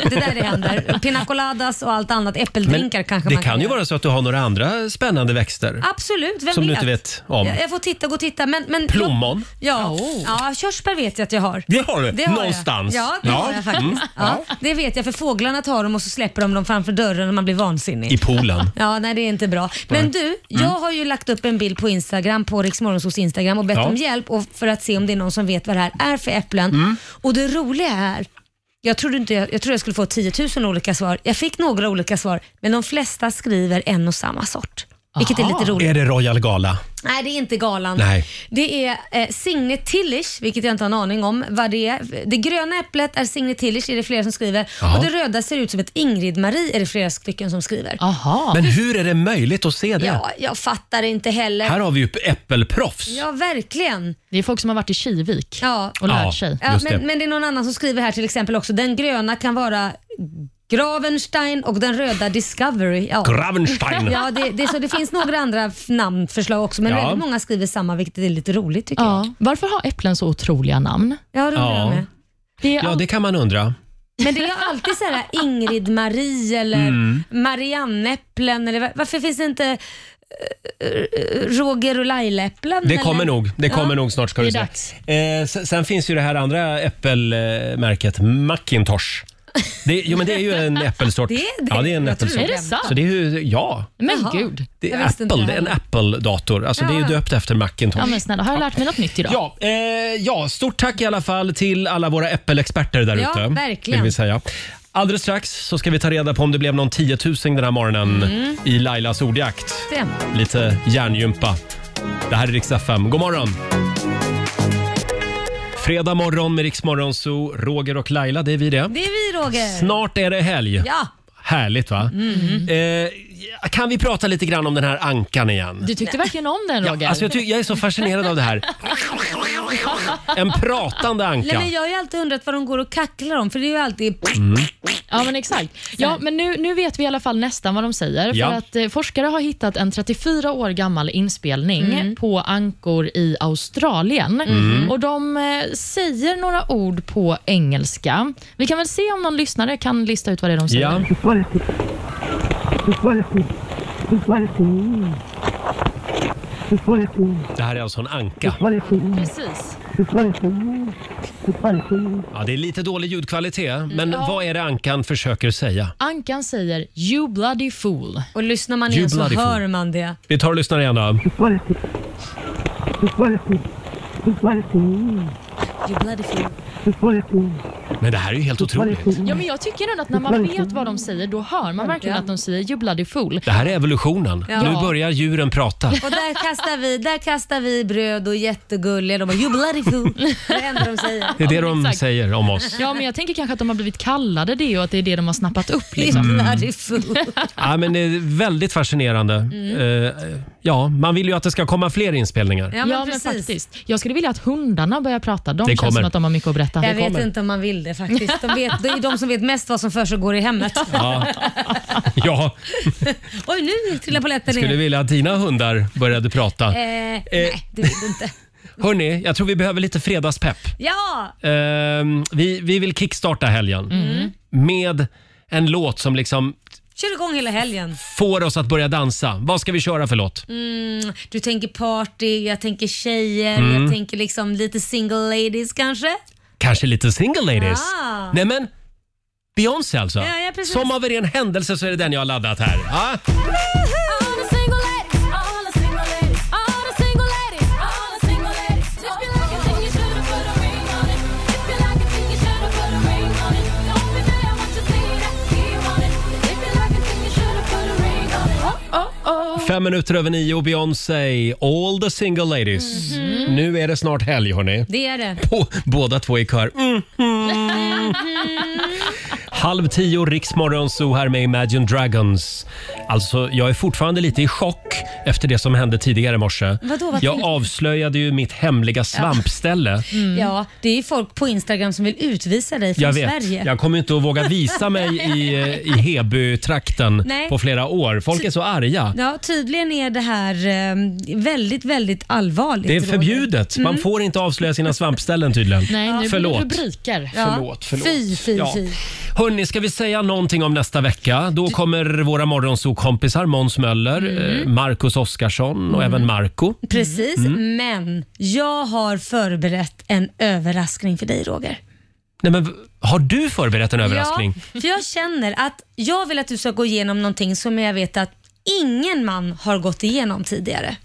S3: Det där det händer. Pina coladas och allt annat. Äppeldrinkar kanske
S1: det
S3: man
S1: kan ju
S3: göra. Ah.
S1: vara så att du har några andra spännande växter.
S3: Absolut, vem
S1: Som
S3: vet?
S1: du inte vet om.
S3: Jag, jag får titta, gå och titta. Men, men,
S1: Plommon.
S3: Ja, ja, körsbär vet jag att jag har.
S1: Det har du.
S3: jag.
S1: Någonstans.
S3: Ja, det
S1: Ja.
S3: har jag faktiskt.
S1: Mm.
S3: Ja, det vet jag, för fåglarna tar dem och så släpper de dem framför dörren och man blir vansinnig.
S1: I poolen.
S3: Ja, nej det är inte bra.
S1: Nej.
S3: Men du, jag
S1: Mm.
S3: har ju lagt upp en bild på Instagram, på Riksmorgonsos Instagram och bett
S1: Ja.
S3: om hjälp och för att se om det är någon som vet vad det här är för äpplen.
S1: Mm.
S3: Och det roliga är, jag trodde, inte, jag, jag trodde jag skulle få 10 000 olika svar. Jag fick några olika svar, men de flesta skriver en och samma sort. Vilket är lite roligt.
S1: Är det Royal Gala?
S3: Nej, det är inte galan.
S1: Nej.
S3: Det är eh, Signe Tillich, vilket jag inte har en aning om vad det är. Det gröna äpplet är Signe Tillich, är det flera som skriver.
S1: Jaha.
S3: Och det röda ser ut som ett Ingrid-Marie, är det flera stycken som skriver.
S1: Men hur är det möjligt att se det?
S3: Ja, jag fattar inte heller.
S1: Här har vi ju äppelproffs.
S3: Ja, verkligen.
S2: Det är folk som har varit i Kivik
S3: ja.
S2: och lärt
S1: Ja,
S2: sig.
S3: Ja,
S1: Just
S3: men,
S1: det.
S3: men det är någon annan som skriver här till exempel också. Den gröna kan vara Gravenstein och den röda Discovery. Ja.
S1: Gravenstein.
S3: Ja, det, det, är så det finns några andra f- namnförslag också men
S2: Ja.
S3: väldigt många skriver samma vilket är lite roligt tycker jag.
S2: Varför har äpplen så otroliga namn?
S3: Ja, det undrar jag med.
S2: Det är
S1: Ja, det kan man undra.
S3: Men det är alltid så här Ingrid-Marie eller
S1: Mm.
S3: Marianneäpplen eller va- varför finns det inte eh, eh, Roger och Laila-äpplen?
S1: Det
S3: eller?
S1: kommer nog. Det kommer
S3: Ja.
S1: nog snart ska du se. Eh, sen, sen finns ju det här andra äppelmärket Macintosh. Det, jo men det är ju en äppelsort.
S3: Det är det.
S1: Ja det är en
S3: Jag trodde
S1: äppelsort.
S3: det var sant.
S1: Så det är ju, ja.
S2: Men
S3: Jaha.
S2: gud.
S1: Det
S2: Jag
S1: är
S2: visste inte
S1: Apple,
S2: det
S1: det är en Apple-dator. Alltså det är ju
S2: Ja.
S1: döpt efter Macintosh.
S2: Ja, men snälla, har jag lärt mig något nytt idag?
S1: Ja, eh, ja, stort tack i alla fall till alla våra äppelexperter där
S2: Ja,
S1: ute.
S2: verkligen.
S1: Vill vi säga. Alldeles strax så ska vi ta reda på om det blev någon 10 000 den här morgonen
S3: Mm.
S1: i Lailas ordjakt.
S3: Det.
S1: Lite hjärngympa. Det här är Rix FM. God morgon! Fredag morgon med Rix Morgon Zoo. Roger och Laila, det är vi det.
S3: Det är vi Roger.
S1: Snart är det helg.
S3: Ja. Mm.
S1: Härligt va? Eh, kan vi prata lite grann om den här ankan igen?
S2: Du tyckte verkligen om den Roger.
S1: Alltså jag, ty- jag är så fascinerad av det här. En pratande
S3: Nej,
S1: anka.
S3: men jag har ju alltid undrat vad de går och kacklar om för det är ju alltid...
S1: Mm.
S2: Ja, men exakt. Ja, men nu, nu vet vi i alla fall nästan vad de säger.
S3: Ja.
S2: För att eh, Forskare har hittat en 34 år gammal inspelning
S3: Mm.
S2: på ankor i Australien.
S15: Mm.
S2: Och De eh, säger några ord på engelska. Vi kan väl se om någon lyssnare kan lista ut vad det är de säger.
S15: Ja.
S1: Det här är alltså en anka.
S2: Precis.
S1: Ja, det är lite dålig ljudkvalitet, men
S2: Ja.
S1: vad är det ankan försöker säga?
S2: Ankan säger “You bloody fool”.
S3: Och lyssnar man
S1: You igen så bloody fool. hör
S3: man det.
S1: Vi tar och lyssnar igen då.
S3: You bloody fool.
S1: Men det här är ju helt otroligt.
S2: Ja, men jag tycker ändå att när man vet vad de säger, då hör man verkligen att de säger “You bloody fool”.
S1: Det här är evolutionen.
S3: Ja.
S1: Nu börjar djuren prata.
S3: Och där kastar vi, där kastar vi bröd och jättegulliga. De bara “You bloody fool”. Det är det enda de säger.
S1: Det är det
S2: Ja, men
S1: de
S2: exakt.
S1: säger om oss.
S2: Ja, men jag tänker kanske att de har blivit kallade det och att det är det de har snappat upp. Liksom.
S1: Mm.
S3: fool.
S1: Ja, men det är väldigt fascinerande. Eh, ja, man vill ju att det ska komma fler inspelningar.
S2: Ja, men, faktiskt. Jag skulle vilja att hundarna börjar prata. De
S1: Det
S2: känns
S1: kommer.
S2: som att de har mycket att berätta.
S3: Jag vet inte om man vill det faktiskt. De vet, det är ju de som vet mest vad som försiggår i hemmet.
S1: Ja. ja,
S3: Oj, nu trillar polletten
S1: jag skulle
S3: ner.
S1: vilja att dina hundar började prata.
S3: Eh, nej, det vill du inte.
S1: Hörni, jag tror vi behöver lite fredagspepp.
S3: Ja!
S1: Ehm, vi, vi vill kickstarta helgen
S3: Mm.
S1: med en låt som liksom
S3: Kör igång hela helgen.
S1: får oss att börja dansa. Vad ska vi köra för låt?
S3: Mm, du tänker party, jag tänker tjejer,
S1: Mm.
S3: jag tänker liksom lite single ladies kanske.
S1: Kanske lite single ladies?
S3: Ah.
S1: Nej men, Beyoncé alltså.
S3: Ja, ja, precis.
S1: Som av en ren händelse så är det den jag har laddat här. Ah. Fem minuter över nio och Beyoncé, All the single ladies.
S3: Mhm.
S1: Nu är det snart helg hörni.
S3: Det är det.
S1: På, båda två i kör. Mm. Halv tio, Riksmorgon Zoo här med Imagine Dragons. Alltså, jag är fortfarande lite i chock efter det som hände tidigare i morse.
S3: Vadå, vad
S1: jag
S3: till-
S1: avslöjade ju mitt hemliga svampställe.
S3: Ja, det är ju folk på Instagram som vill utvisa dig från
S1: Mm. Jag vet,
S3: Sverige.
S1: jag kommer inte att våga visa mig i, eh, i Heby-trakten
S3: Nej.
S1: på flera år. Folk är så arga.
S3: Ja, tydligen är det här eh, väldigt, väldigt allvarligt.
S1: Det är
S3: Roger.
S1: förbjudet. Man
S3: Mm.
S1: får inte avslöja sina svampställen tydligen.
S2: Nej, nu
S1: Förlåt.
S2: blir det rubriker.
S1: Ja. Förlåt, förlåt.
S3: Fy, fy,
S1: Ja. Mm.
S3: fy.
S1: Hörni, ska vi säga någonting om nästa vecka? Då kommer våra morgonsokompisar Måns Möller, eh,
S3: Mm.
S1: Marcus Oskarsson och även Marco.
S3: Precis,
S1: Mm.
S3: men jag har förberett en överraskning för dig Roger.
S1: Nej, men, v- har du förberett en överraskning?
S3: Ja, för jag känner att jag vill att du ska gå igenom någonting som jag vet att ingen man har gått igenom tidigare.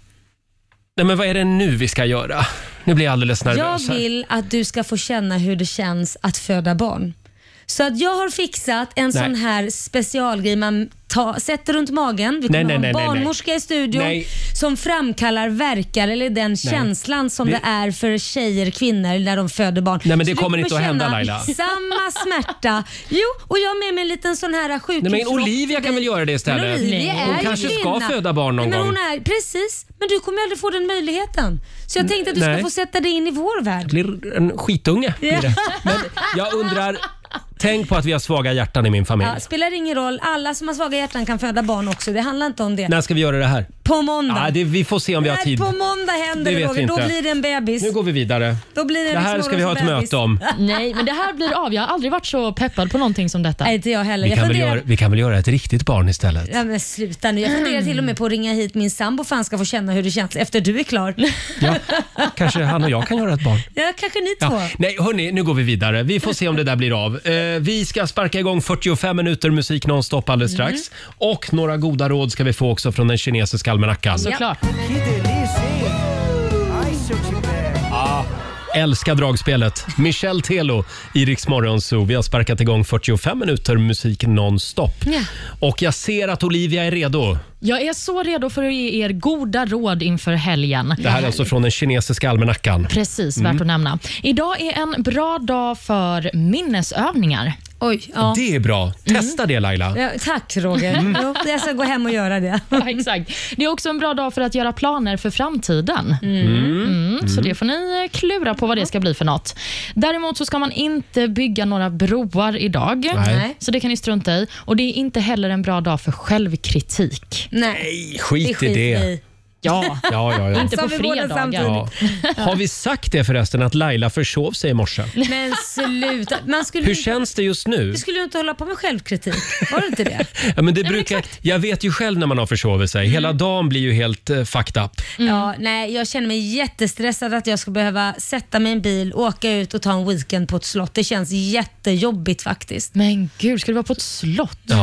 S1: Nej, men vad är det nu vi ska göra? Nu blir jag alldeles nervös.
S3: Jag
S1: här.
S3: vill att du ska få känna hur det känns att föda barn. Så att jag har fixat en
S1: Nej.
S3: sån här specialgrej man ta, sätter runt magen. Vi
S1: Nej, nej,
S3: kommer ha en
S1: nej, nej, nej.
S3: barnmorska i studion
S1: Nej.
S3: som framkallar verkar eller den känslan som
S1: Det-
S3: det... är för tjejer, kvinnor när de föder barn.
S1: Nej, men det
S3: Så du
S1: kommer inte att hända,
S3: känna
S1: Laila.
S3: Samma smärta. Jo, och jag har med mig en liten sån här
S1: Nej,
S3: sjukhusrock.
S1: men Olivia kan väl göra det istället?
S3: Men Olivia är
S1: Hon
S3: ju
S1: kanske ska
S3: kvinna.
S1: föda barn någon
S3: Nej, men
S1: gång.
S3: hon är, Precis, men du kommer aldrig få den möjligheten. Så jag tänkte att du
S1: nej.
S3: ska få sätta dig in i vår värld.
S1: blir en skitunge. Blir det. Men jag undrar, tänk på att vi har svaga hjärtan i min familj.
S3: Ja, spelar ingen roll. Alla som har svaga hjärtan kan föda barn också. Det handlar inte om det.
S1: När ska vi göra det här?
S3: På måndag.
S1: Ja, det, vi får se om vi har
S3: Nej,
S1: tid.
S3: På måndag
S1: Det
S3: händer det,
S1: vet vi
S3: Roger. Då
S1: inte.
S3: blir det en bebis.
S1: Nu går vi vidare.
S3: Då blir det, liksom
S1: Det här ska vi ha ett möte om.
S2: Nej, men det här blir av. Jag har aldrig varit så peppad på någonting som detta.
S3: Nej, inte jag heller.
S1: Vi kan, väl göra, vi kan väl göra ett riktigt barn istället?
S3: Ja, men sluta nu. Jag funderar till och med på att ringa hit min sambo för han ska få känna hur det känns efter du är klar.
S1: Kanske han och jag kan göra ett barn.
S3: Ja, kanske ni två.
S1: Ja. Nej, hörni, nu går vi vidare. Vi får se om det där blir av. Eh, vi ska sparka igång 45 minuter musik nonstop alldeles strax. Och några goda råd ska vi få också från den kinesiska almanackan. Älskar dragspelet. Michel Telo i Rix Morgon Zoo. Vi har sparkat igång 45 minuter musik nonstop.
S2: Ja.
S1: Och jag ser att Olivia är redo.
S2: Jag är så redo för att ge er goda råd inför helgen.
S1: Det här är alltså från den kinesiska almanackan.
S2: Precis, värt
S1: Mm.
S2: att nämna. Idag är en bra dag för minnesövningar.
S3: Oj,
S1: Det är bra. Testa det Laila.
S3: Ja, tack Roger.
S1: Mm.
S3: Jo, jag ska gå hem och göra det.
S2: Ja, exakt. Det är också en bra dag för att göra planer för framtiden.
S3: Mm.
S2: Mm, så
S3: Mm.
S2: det får ni eh, klura på vad det ska bli för något. Däremot så ska man inte bygga några broar idag,
S1: Nej.
S2: så det kan ni strunta i. Och Det är inte heller en bra dag för självkritik.
S3: Nej,
S1: Skit i det.
S2: Ja.
S1: Ja, ja, ja.
S2: Inte på
S3: vi båda
S2: fredagar.
S1: Ja. Har vi sagt det förresten att Laila försov sig i morse?
S3: Men sluta. Man skulle,
S1: Hur känns det just nu?
S3: vi skulle ju inte hålla på med självkritik. Var det inte det?
S1: Ja, men Mm. det brukar, jag vet ju själv när man har försovit sig. Hela dagen blir ju helt eh, fucked up.
S3: Ja, nej, jag känner mig jättestressad att jag ska behöva sätta mig i en bil, åka ut och ta en weekend på ett slott. Det känns jättejobbigt faktiskt.
S2: Men gud, ska du vara på ett slott?
S1: Ja,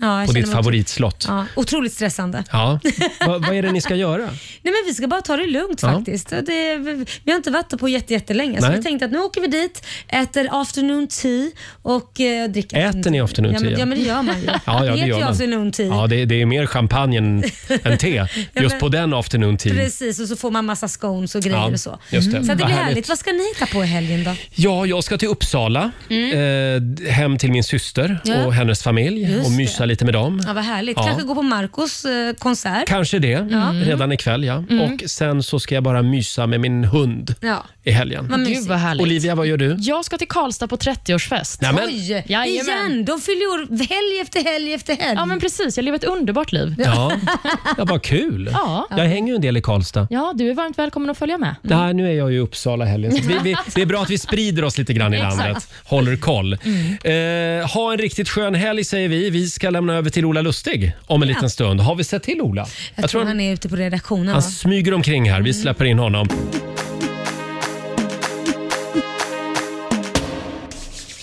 S3: Ja, jag
S1: på
S3: känner
S1: ditt
S3: mig
S1: favoritslott.
S3: Ja, otroligt stressande.
S1: Ja. Va, vad är det ni ska göra?
S3: Nej, men vi ska bara ta det lugnt
S1: Ja.
S3: faktiskt. Det, vi har inte varit där på jätte, jättelänge, så
S1: Nej.
S3: vi tänkte att nu åker vi dit, äter afternoon tea och eh, dricker...
S1: Äter ni afternoon
S3: ja, men,
S1: tea?
S3: ja, men det gör man ju.
S1: Ja, ja, det
S3: heter
S1: gör
S3: ju
S1: man.
S3: afternoon tea.
S1: Ja, det, det är mer champagne än, än te
S3: men-
S1: just på den afternoon tea.
S3: Precis, och så får man massa scones och grejer
S1: Ja,
S3: och så.
S1: just det.
S3: Så att det
S1: Vad
S3: blir
S1: härligt.
S3: härligt. Vad ska ni hitta på i helgen då?
S1: Ja, jag ska till Uppsala, eh, hem till min syster
S3: Mm. Ja.
S1: och hennes familj
S3: Just
S1: och mysa lite med dem.
S3: Ja, vad härligt.
S1: Ja.
S3: Kanske gå på Marcos eh, konsert.
S1: Kanske det,
S3: Ja.
S1: redan ikväll ja.
S3: Mm.
S1: Och sen så ska jag bara mysa med min hund
S3: Ja.
S1: i helgen.
S2: Vad mysigt. Gud, vad härligt.
S1: Olivia, vad gör du?
S2: Jag ska till Karlstad på 30-årsfest.
S1: Nämen.
S3: Oj,
S2: Jajamän.
S3: igen. De fyller ju år helg efter helg efter helg.
S2: Ja, men precis. Jag lever ett underbart liv.
S1: Ja, ja vad kul.
S2: Ja.
S1: Jag hänger ju en del i Karlstad.
S2: Ja, du är varmt välkommen att följa med.
S1: Nej, nu är jag ju i Uppsala i helgen. Så vi, vi, det är bra att vi sprider oss lite grann i
S2: Exakt.
S1: landet. Håller koll.
S3: Mm.
S1: Eh, ha en riktigt skön helg säger vi. Vi ska lämna över till Ola Lustig om en
S3: Ja.
S1: liten stund. Har vi sett till Ola?
S3: Jag, tror han Mm. är ute på redaktionen.
S1: Han
S3: va?
S1: smyger omkring här. Vi släpper in honom.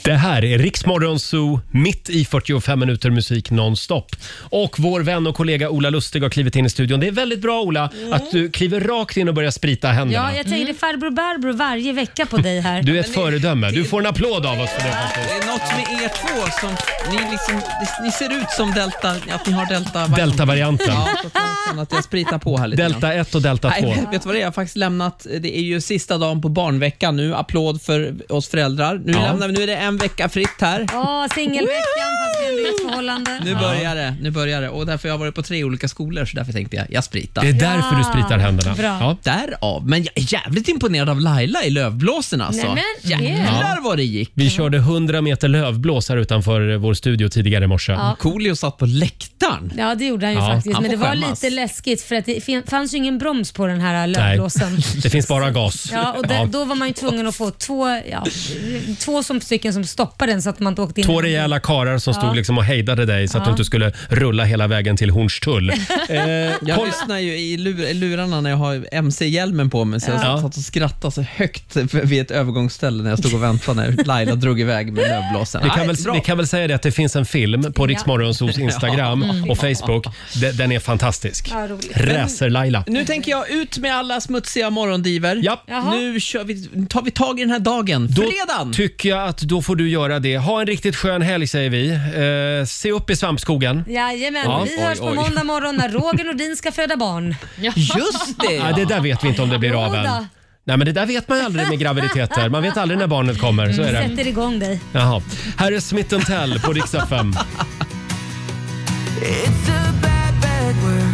S1: Det här är Riksmorgon Zoo, mitt i 45 minuter musik nonstop. Och vår vän och kollega Ola Lustig har klivit in i studion. Det är väldigt bra Ola, att du kliver rakt in och börjar sprita händerna.
S3: Mm. Ja, jag tänker farbror Barbro varje vecka på dig här.
S1: Mm. Du är ett föredöme. Du får en applåd av oss för det. faktiskt.
S6: Det är något med er två som... Ni, liksom, ni ser ut som delta, att ni har delta...
S1: Delta-varianten.
S6: Ja, så att man känner att jag spritar på här lite
S1: Delta 1 och Delta 2.
S6: Nej, men vet du vad det är? Jag har faktiskt lämnat, det är ju sista dagen på barnveckan nu. Applåd för oss föräldrar. Nu,
S1: Ja.
S6: lämnar, vi- nu är det en
S15: en vecka fritt här.
S3: Ja, singelveckan fast det är ändå i ett förhållande.
S15: Nu börjar det. Nu börjar det. Och därför har jag varit på tre olika skolor, så därför tänkte jag jag spritar.
S1: Det är därför du spritar händerna. Bra. Ja.
S15: Därav. Men jag är jävligt imponerad av Laila i Lövblåsen alltså.
S1: Nej, men, det-
S15: Jävlar vad det gick.
S1: Vi körde 100 meter lövblås här utanför vår studio tidigare i morse.
S3: Ja.
S15: Coolio satt på läktaren.
S3: Ja, det gjorde han ju
S1: Ja,
S3: faktiskt.
S1: han
S3: Men det
S1: får
S3: var
S1: skämmas.
S3: lite läskigt för att det fin- fanns ju ingen broms på den här
S1: Nej,
S3: lövblåsen.
S1: det finns bara gas.
S3: Ja, och där- Då var man ju tvungen att få två, ja, två som stycken som stoppade den så att man inte åkte in.
S1: Två rejäla karar som
S3: Ja.
S1: stod liksom och hejdade dig så att
S3: Ja.
S1: du inte skulle rulla hela vägen till Hornstull. Eh,
S15: jag lyssnar ju i lur, lurarna när jag har MC-hjälmen på mig, så jag
S1: Ja.
S15: satt och skrattade så högt vid ett övergångsställe när jag stod och väntade när Laila drog iväg med lövblåsen.
S1: Vi
S15: Nej,
S1: kan, väl,
S15: bra.
S1: vi kan väl säga det att det finns en film på
S15: Ja.
S1: Riksmorgonsos Instagram
S15: Ja. Mm.
S1: och Facebook. De- Den är fantastisk.
S15: Ja, roligt.
S1: Racer-Laila.
S15: Nu tänker jag ut med alla smutsiga morgondiver.
S1: Jaha.
S15: Nu kör vi, nu tar vi tag i den här dagen.
S1: Då
S15: Fredagen!
S1: tycker jag att då får du göra det. Ha en riktigt skön helg säger vi. Eh, se upp i svampskogen.
S3: Jajamän,
S1: Ja.
S3: vi
S1: Oj,
S3: hörs på
S1: oj.
S3: måndag morgon när Roger Nordin ska föda barn.
S15: Just
S1: Ja, det där vet vi inte om det blir av
S3: Jodå.
S1: än. Nej, men det där vet man ju aldrig med graviditeter. Man vet aldrig när barnet kommer. Så är det.
S3: Sätter igång dig.
S1: Jaha. Här är Smith Tell på riksdag 5.
S7: It's a bad, bad word.